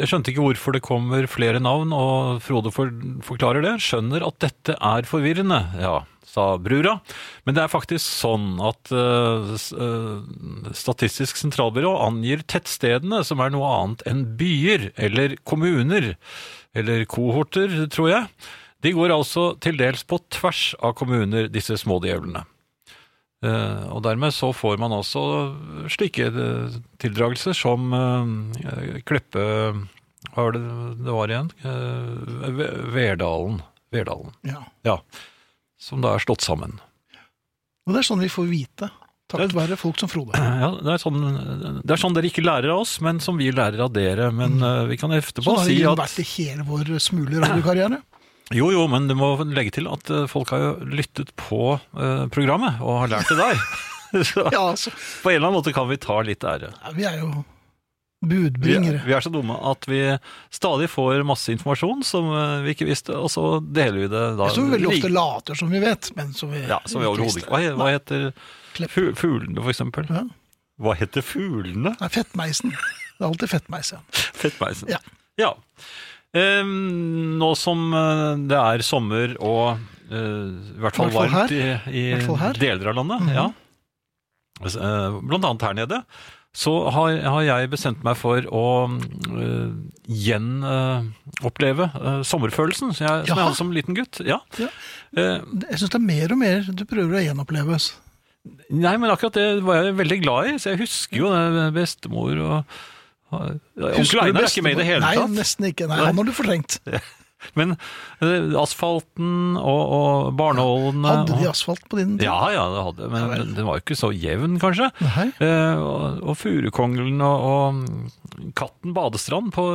C: jeg skjønte ikke hvorfor det kommer flere navn, og Frode for, forklarer det. Skjønner at dette er forvirrende, ja, sa brura. Men det er faktisk sånn at eh, s- eh, Statistisk sentralbyrå angir tettstedene, som er noe annet enn byer eller kommuner, eller kohorter, tror jeg. De går altså til dels på tvers av kommuner, disse små djevlene. Eh, og dermed så får man også slike eh, tildragelser som eh, Kleppe Hva var det det var igjen? Eh, Ve- Verdalen. Verdalen.
B: Ja.
C: Ja. Som da er slått sammen.
B: Og det er sånn vi får vite. Takket være folk som Frode.
C: Ja, det, er sånn, det er sånn dere ikke lærer av oss, men som vi lærer av dere. Men eh, vi kan
B: Sånn
C: etterpå
B: har
C: si
B: vi
C: at
B: vært i hele vår eh, smule radiokarriere.
C: Jo, jo, men du må legge til at eh, folk har jo lyttet på eh, programmet og har lært det der. Så
B: Ja, altså.
C: på en eller annen måte kan vi ta litt ære.
B: Ja, Vi er jo
C: Vi,
B: budbringere.
C: vi er så dumme at vi stadig får masse informasjon som eh, vi ikke visste, og så deler vi det da.
B: Som vi veldig ofte
C: lik-
B: later som vi vet, men som vi
C: ja, som vi overhodet ikke Hva, he- hva heter
B: Klepp.
C: fu- fuglene, for eksempel?
B: Ja.
C: Hva heter fuglene?
B: Nei, fettmeisen. Det er alltid fettmeis, ja.
C: Fettmeisen.
B: Ja.
C: Ja. Ehm, nå som eh, det er sommer og eh, i hvert fall
B: I hvert fall
C: varmt i, i
B: hvert fall her. Mhm.
C: deler av landet, ja. Altså, eh, blant annet her nede, så har, har jeg bestemt meg for å eh, gjenoppleve eh, sommerfølelsen som jeg, som jeg
B: Jaha.
C: hadde som liten gutt. Ja.
B: Ja.
C: Eh,
B: Jeg syns det er mer og mer du prøver å gjenoppleves.
C: nei, men akkurat det var jeg veldig glad i, så jeg husker jo det bestemor og Onkel
B: Husker du
C: Einar er ikke med i det hele
B: bestemor-
C: tatt.
B: Nei, nesten ikke. Nei,
C: Nei.
B: Han har du fortrengt.
C: Men eh, asfalten og, og barneålene
B: Hadde de
C: og-
B: asfalt på din tid?
C: Ja, ja, det hadde men
B: Ja vel.
C: den- den var jo ikke så jevn, kanskje.
B: Nei.
C: Eh, og og Furukongelen og, og Katten badestrand på,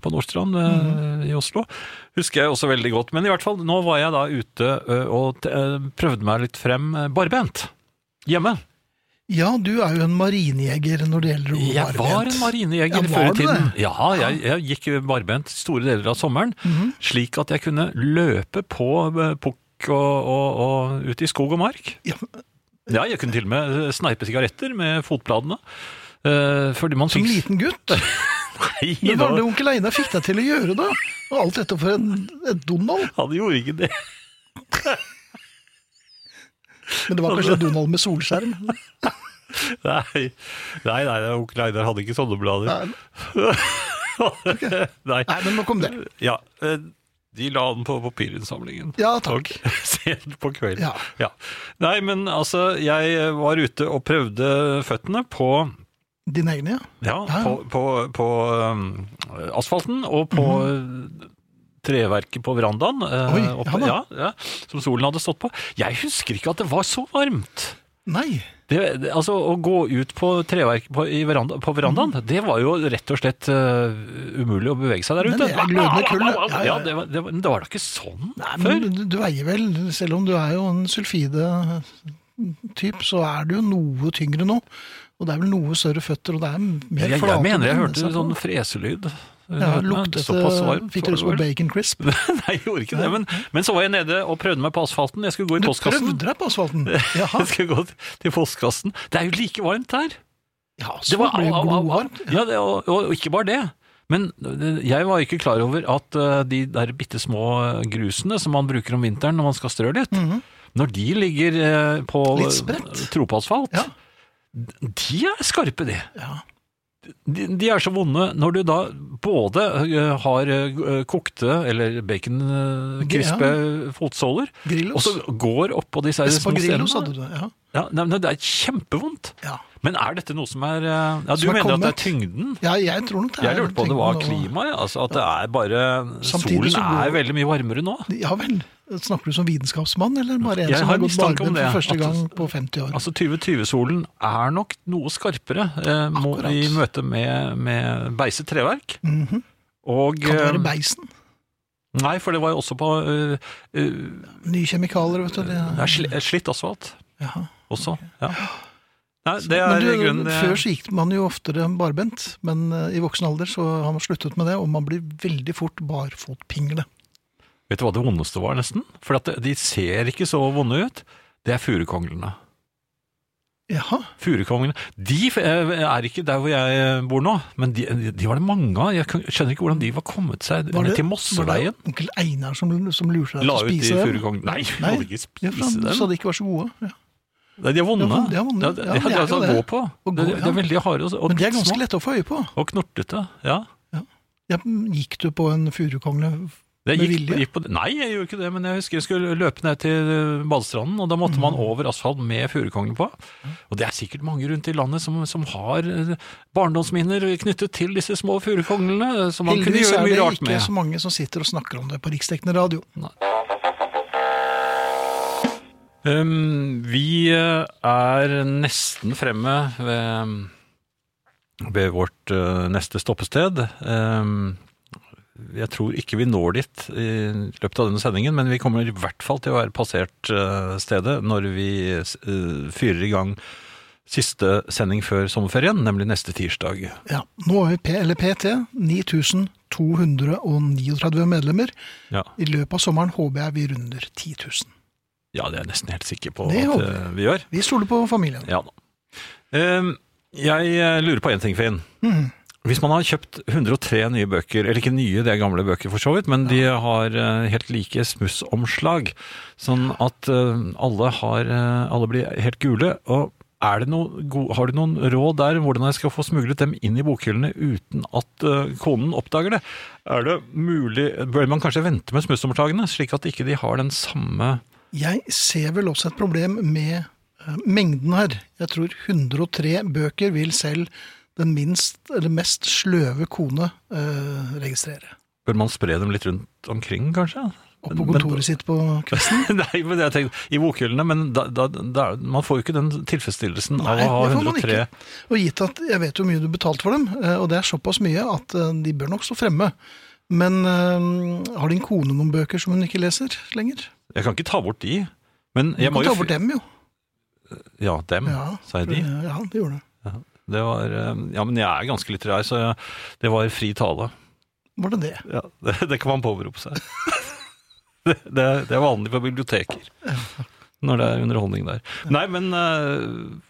C: på Nordstrand
B: Mhm.
C: eh, i Oslo husker jeg også veldig godt. Men i hvert fall, nå var jeg da ute eh, og t- eh, prøvde meg litt frem eh, barbent. Hjemme.
B: Ja, du er jo en marinejeger når det gjelder å
C: Jeg var en
B: Ja,
C: marinejeger
B: var
C: før i
B: du
C: tiden. Ja, jeg, jeg gikk barbent store deler av sommeren,
B: Mhm.
C: slik at jeg kunne løpe på eh, pukk og, og, og ut i skog og mark.
B: Ja,
C: Ja, jeg kunne til og med eh, sneipe sigaretter med fotbladene. eh, fordi man
B: som
C: fikk
B: liten gutt.
C: Nei,
B: Men hva
C: da,
B: var det onkel Einar fikk deg til å gjøre, da? Og alt dette for en, en Donald?
C: han gjorde ikke det.
B: Men det var kanskje Donald med solskjerm?
C: Nei, nei, nei onkel Einar hadde ikke sånne blader.
B: Nei,
C: Nei.
B: nei, men nå kom det.
C: Ja, eh, de la den på papirinnsamlingen.
B: Ja, takk.
C: Og Sent på kvelden.
B: Ja.
C: Ja. Nei, men altså, jeg var ute og prøvde føttene på
B: Dine egne, ja.
C: Ja,
B: Ja.
C: på, på, på um, asfalten og på uh, treverket på verandaen. eh,
B: Mhm. Oi,
C: oppe-
B: ja da.
C: ja, ja, som solen hadde stått på. Jeg husker ikke at det var så varmt.
B: Nei.
C: Det, det, altså, Å gå ut på treverket på, i veranda, på verandaen,
B: Mhm.
C: det var jo rett og slett eh, umulig å bevege seg der
B: Men
C: ute.
B: det er glødende kulde.
C: Ja,
B: Ja, ja.
C: det var, det var, men det var da ikke sånn
B: Nei,
C: før?
B: men du, du veier vel, selv om du er jo en sulfide-typ, så er du jo noe tyngre nå. Og det er vel noe større føtter, og det er mer
C: Jeg,
B: flate
C: jeg mener jeg
B: ben,
C: hørte
B: så-
C: sånn freselyd.
B: ja,
C: Hørte meg.
B: Luktet
C: Såpass varmt
B: det Fikk dere
C: var det
B: så på
C: vel.
B: bacon crisp?
C: Nei, jeg gjorde ikke det. Men, men så var jeg nede og prøvde meg på asfalten. Jeg skulle gå i
B: Du
C: postkassen.
B: prøvde deg på asfalten?
C: Jeg
B: Jaha.
C: skulle gå til postkassen. Det er jo like varmt der.
B: Ja, så
C: Det var
B: ble det
C: au, au, au, au.
B: glovarmt.
C: Ja, det, og, og ikke bare det. Men eh, jeg var ikke klar over at eh, de der bitte små grusene som man bruker om vinteren når man skal strø litt,
B: Mhm,
C: når de ligger eh, på
B: Mm. Litt spredt.
C: tropeasfalt,
B: Ja.
C: de er skarpe, de.
B: Ja.
C: de. De er så vonde når du da både eh, har eh, kokte eller eh, baconkrispe fotsåler, eh, og
B: Grillos.
C: så går oppå disse her små
B: Spagrillos hadde
C: stenene.
B: du, ja.
C: Ja, nei, men det er kjempevondt.
B: ja.
C: Men er dette noe som er eh, Ja, du
B: Som er
C: mener at det er
B: kommet?
C: tyngden?
B: Ja, jeg tror nok det
C: Jeg lurte på om det var
B: tenkte nå-
C: klimaet, ja, altså at det er bare
B: Samtidig
C: Solen
B: så går-
C: er veldig mye varmere nå.
B: Ja vel. Snakker du som vitenskapsmann, eller bare en
C: Jeg
B: som
C: har
B: har gått
C: mistanke om
B: barbeint
C: det,
B: for første
C: at-
B: gang på 50 år?
C: Altså 2020-solen er nok noe skarpere eh, må,
B: Akkurat.
C: i møte med, med beiset treverk.
B: Mhm.
C: Og
B: Kan det
C: eh,
B: være beisen?
C: Nei, for det var jo også på eh, eh,
B: Nye kjemikalier, vet du. Det
C: det er sli- slitt asfalt
B: Jaha.
C: også. Ja. Nei, det
B: Men
C: er
B: du,
C: i grunnen eh, det-
B: Før så gikk man jo oftere barbent, men eh, i voksen alder så har man sluttet med det, og man blir veldig fort barfotpingle.
C: Vet du hva det vondeste var, nesten? For at det- de ser ikke så vonde ut. Det er furukonglene.
B: Jaha.
C: Furukongene. De eh, er ikke der hvor jeg eh, bor nå, men de, de var det mange av. Jeg kan- skjønner ikke hvordan de var kommet seg
B: Var
C: ned
B: det-
C: til
B: var det
C: Mosseveien.
B: Onkel Einar som, som lurte deg til
C: La
B: å
C: ut de
B: spise dem?
C: furukongene. Nei, vi
B: Nei.
C: hadde ikke
B: Ja, for
C: spise
B: han sa
C: dem.
B: de ikke var så gode. Ja.
C: Nei, de er vonde.
B: Ja, de er vonde.
C: Ja, det,
B: Ja,
C: det,
B: men de er
C: altså,
B: jo
C: å gå
B: det.
C: på.
B: Å gå,
C: det, det
B: ja.
C: er veldig harde altså. og, og
B: Men de er
C: små
B: ganske lette å få øye på.
C: og knortete. Ja.
B: Ja, gikk du på en furukongle? Med
C: Det gikk,
B: vilje?
C: gikk på, nei, jeg gjorde ikke det, men jeg husker jeg skulle løpe ned til eh, badestranden, og da måtte
B: Mm.
C: man over asfalt med furukongen på. Og det er sikkert mange rundt i landet som, som har eh, barndomsminner knyttet til disse små furukonglene, eh, som man kunne
B: Heldigvis
C: gjøre
B: er
C: mye
B: det
C: rart
B: ikke
C: med.
B: så mange som sitter og snakker om det på riksdekkende radio.
C: Um, vi eh, er nesten fremme ved, ved vårt eh, neste stoppested. Um, jeg tror ikke vi når dit i løpet av denne sendingen, men vi kommer i hvert fall til å være passert eh, stedet når vi eh, fyrer i gang siste sending før sommerferien, nemlig neste tirsdag.
B: Ja, nå er vi P eller PT 9239 medlemmer.
C: Ja,
B: I løpet av sommeren håper jeg vi runder 10 000.
C: ja det er jeg nesten helt sikker på
B: Det
C: at
B: håper
C: eh, vi gjør.
B: Vi stoler på familien.
C: Ja da. Ehm, jeg eh, lurer på én ting, Finn.
B: Mhm.
C: Hvis man har kjøpt 103 nye bøker, eller ikke nye, det er gamle bøker for så vidt, men de har eh, helt like smussomslag, sånn at eh, alle, har, eh, alle blir helt gule. og er det noe, go- har du noen råd der om hvordan jeg skal få smuglet dem inn i bokhyllene uten at eh, konen oppdager det? Er det mulig, Bør man kanskje vente med smussomslagene, slik at ikke de har den samme
B: Jeg ser vel også et problem med eh, mengden her. Jeg tror 103 bøker vil selv den minst eller mest sløve kone eh, registrere.
C: Bør man spre dem litt rundt omkring, kanskje?
B: Opp på
C: Men-
B: kontoret sitt på kvelden.
C: Nei, men det har jeg tenkt i bokhyllene, men da, da, da, man får jo ikke den tilfredsstillelsen av
B: Nei,
C: å ha
B: det får man
C: 103
B: ikke. Og gitt at jeg vet jo hvor mye du betalte for dem, eh, og det er såpass mye at eh, de bør nok stå fremme. Men eh, har din kone noen bøker som hun ikke leser lenger?
C: Jeg kan ikke ta bort de, men
B: Du
C: jeg må
B: kan
C: jo
B: ta bort dem, jo.
C: Ja, dem,
B: Ja, Mm.
C: sa jeg de.
B: Ja, det gjorde du.
C: Det var, eh, ja, men jeg er ganske litterær, så jeg, det var fri tale.
B: Var det det?
C: Ja, det, det kan man påberope seg. det, det, det er vanlig på biblioteker når det er underholdning der. Nei, men eh,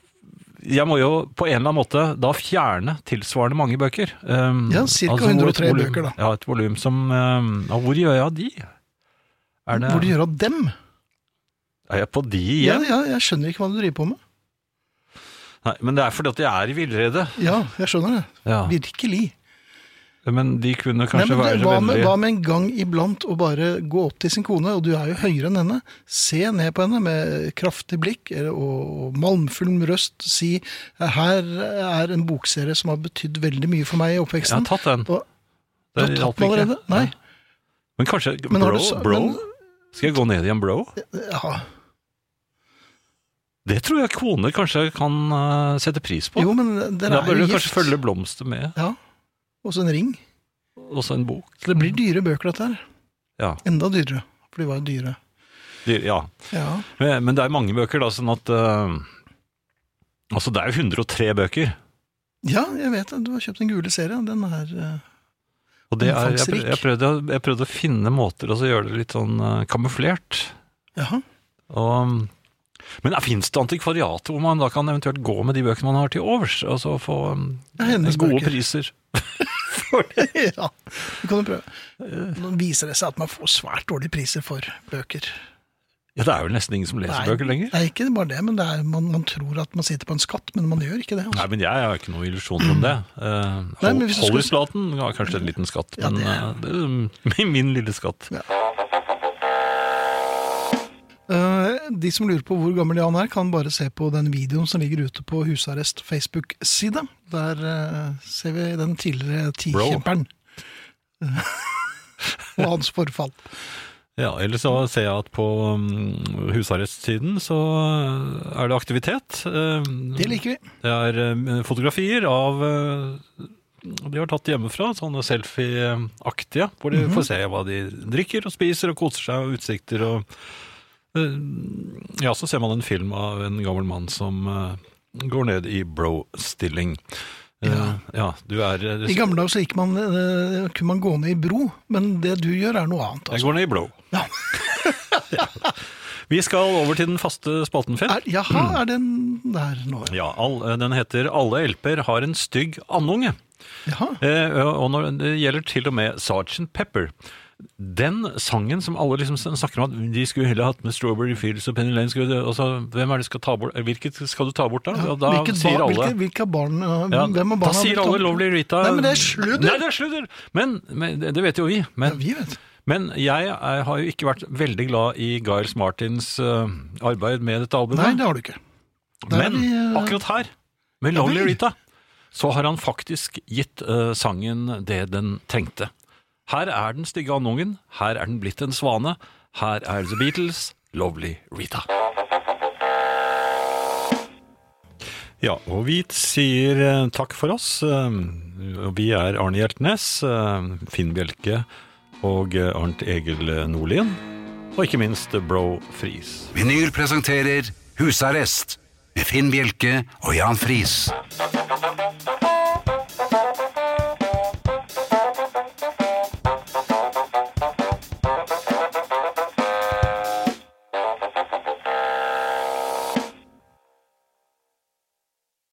C: jeg må jo på en eller annen måte da fjerne tilsvarende mange bøker. Um,
B: Ja, cirka
C: hvor et
B: 103
C: volum-
B: bøker, da.
C: Ja, et volum som um, ja, Hvor gjør jeg av de? Er, det,
B: Hvor de gjør av dem?
C: er jeg på de
B: Ja,
C: igjen?
B: ja, jeg skjønner ikke hva du driver på med.
C: Nei, men det er fordi at jeg er i villrede.
B: Ja, jeg skjønner det.
C: Ja.
B: Virkelig.
C: Men de kunne
B: Nei,
C: kanskje
B: men
C: være
B: du,
C: så
B: hva, med,
C: vennlige.
B: hva med en gang iblant å bare gå opp til sin kone, og du er jo høyere enn henne, se ned på henne med kraftig blikk eller- og malmfull røst, si her er en bokserie som har betydd veldig mye for meg i
C: Jeg har
B: oppveksten.
C: tatt den.
B: Og- Du
C: Det
B: har tatt
C: hjalp
B: den
C: ikke.
B: allerede? Nei.
C: Men kanskje
B: Men har
C: Bro?
B: du så-
C: bro?
B: men-
C: Skal jeg gå ned igjen, bro?
B: Ja.
C: Det tror jeg koner kanskje kan eh, sette pris på.
B: Jo, men dere
C: da
B: er
C: bør
B: jo
C: du kanskje følge
B: gift.
C: blomster med,
B: Ja. Og så en ring.
C: også en bok.
B: Så det blir dyre bøker, dette her.
C: Ja,
B: Enda dyrere. For de var jo dyre.
C: de, ja.
B: Ja.
C: Men, men det er mange bøker, da, sånn at eh, Altså, det er jo 103 bøker,
B: ja, jeg vet det. Du har kjøpt den gule serien. Den er eh,
C: og det er, jeg,
B: Omfangsrik.
C: prøv- jeg, prøvde, å- jeg prøvde å finne måter å så gjøre det litt sånn eh, kamuflert.
B: Jaha.
C: Og, men fins det antikvariat hvor man da kan eventuelt gå med de bøkene man har til overs, og så få eh,
B: Det er hennes
C: gode
B: bøker.
C: priser?
B: ja, det kan du prøve.
C: Eh.
B: Nå viser det seg at man får svært dårlige priser for bøker.
C: Ja, det er vel nesten ingen som leser bøker lenger.
B: Nei, ikke bare det, men det er, man, man tror at man sitter på en skatt, men man gjør ikke det.
C: Nei,
B: Altså.
C: men jeg har ikke noen illusjoner om det. Uh,
B: Nei, men hvis du skulle-
C: Hollyslaten har kanskje en liten skatt,
B: Ja,
C: men
B: det
C: eh, det er min lille skatt.
B: Eh, de som lurer på hvor gammel Jan er, kan bare se på den videoen som ligger ute på Husarrest Facebook-side. Der eh, ser vi den tidligere tikjemperen. Og hans forfall.
C: Ja, eller så ser jeg at på um, husarrestsiden så uh, er det aktivitet. Um,
B: Det liker vi.
C: Det er um, fotografier av uh, de har tatt hjemmefra, sånne selfie-aktige, hvor de
B: Mhm.
C: får se hva de drikker og spiser og koser seg og utsikter og uh, Ja, så ser man en film av en gammel mann som uh, går ned i bro-stilling. Uh, ja. du er
B: I gamle dager så gikk man, eh, kunne man gå ned i bro, men det du gjør, er noe annet.
C: Jeg
B: Altså.
C: går ned i bro.
B: Ja.
C: Vi skal over til den faste spalten, Finn.
B: Er, jaha, er den der nå?
C: Ja, all, eh, den heter 'Alle LP-er har en stygg andunge'.
B: Jaha.
C: Eh, og når, det gjelder til og med Sergeant Pepper. Den sangen som alle liksom snakker om at de skulle heller hatt med Strawberry Fields og Penny Lane skulle, og så, Hvem er det skal ta bort? eh, Hvilket skal du ta bort, da? og da
B: Hvilket
C: sier
B: bar-
C: alle
B: Hvilke, hvilke barn, øh,
C: ja,
B: hvem av
C: Da
B: barna
C: sier alle Lovely Rita
B: Nei, men det er sludder!
C: Nei, det er sludder! Men, men det det vet jo vi. Men
B: Ja, vi vet.
C: men jeg er, har jo ikke vært veldig glad i Giles Martins eh, arbeid med dette albumet.
B: Nei, det har du ikke. der er
C: Men
B: vi, eh,
C: akkurat her, med
B: Ja vel.
C: Lovely Rita, så har han faktisk gitt eh, sangen det den trengte. Her er den stygge andungen, her er den blitt en svane, her er The Beatles, Lovely Rita. Ja, og vi sier eh, takk for oss. Eh, og Vi er Arne Hjeltnes, eh, Finn Bjelke og eh, Arnt Egil Nordlien. Og ikke minst eh, Bro Friis.
A: Vinyl presenterer Husarrest med Finn Bjelke og Jan Friis.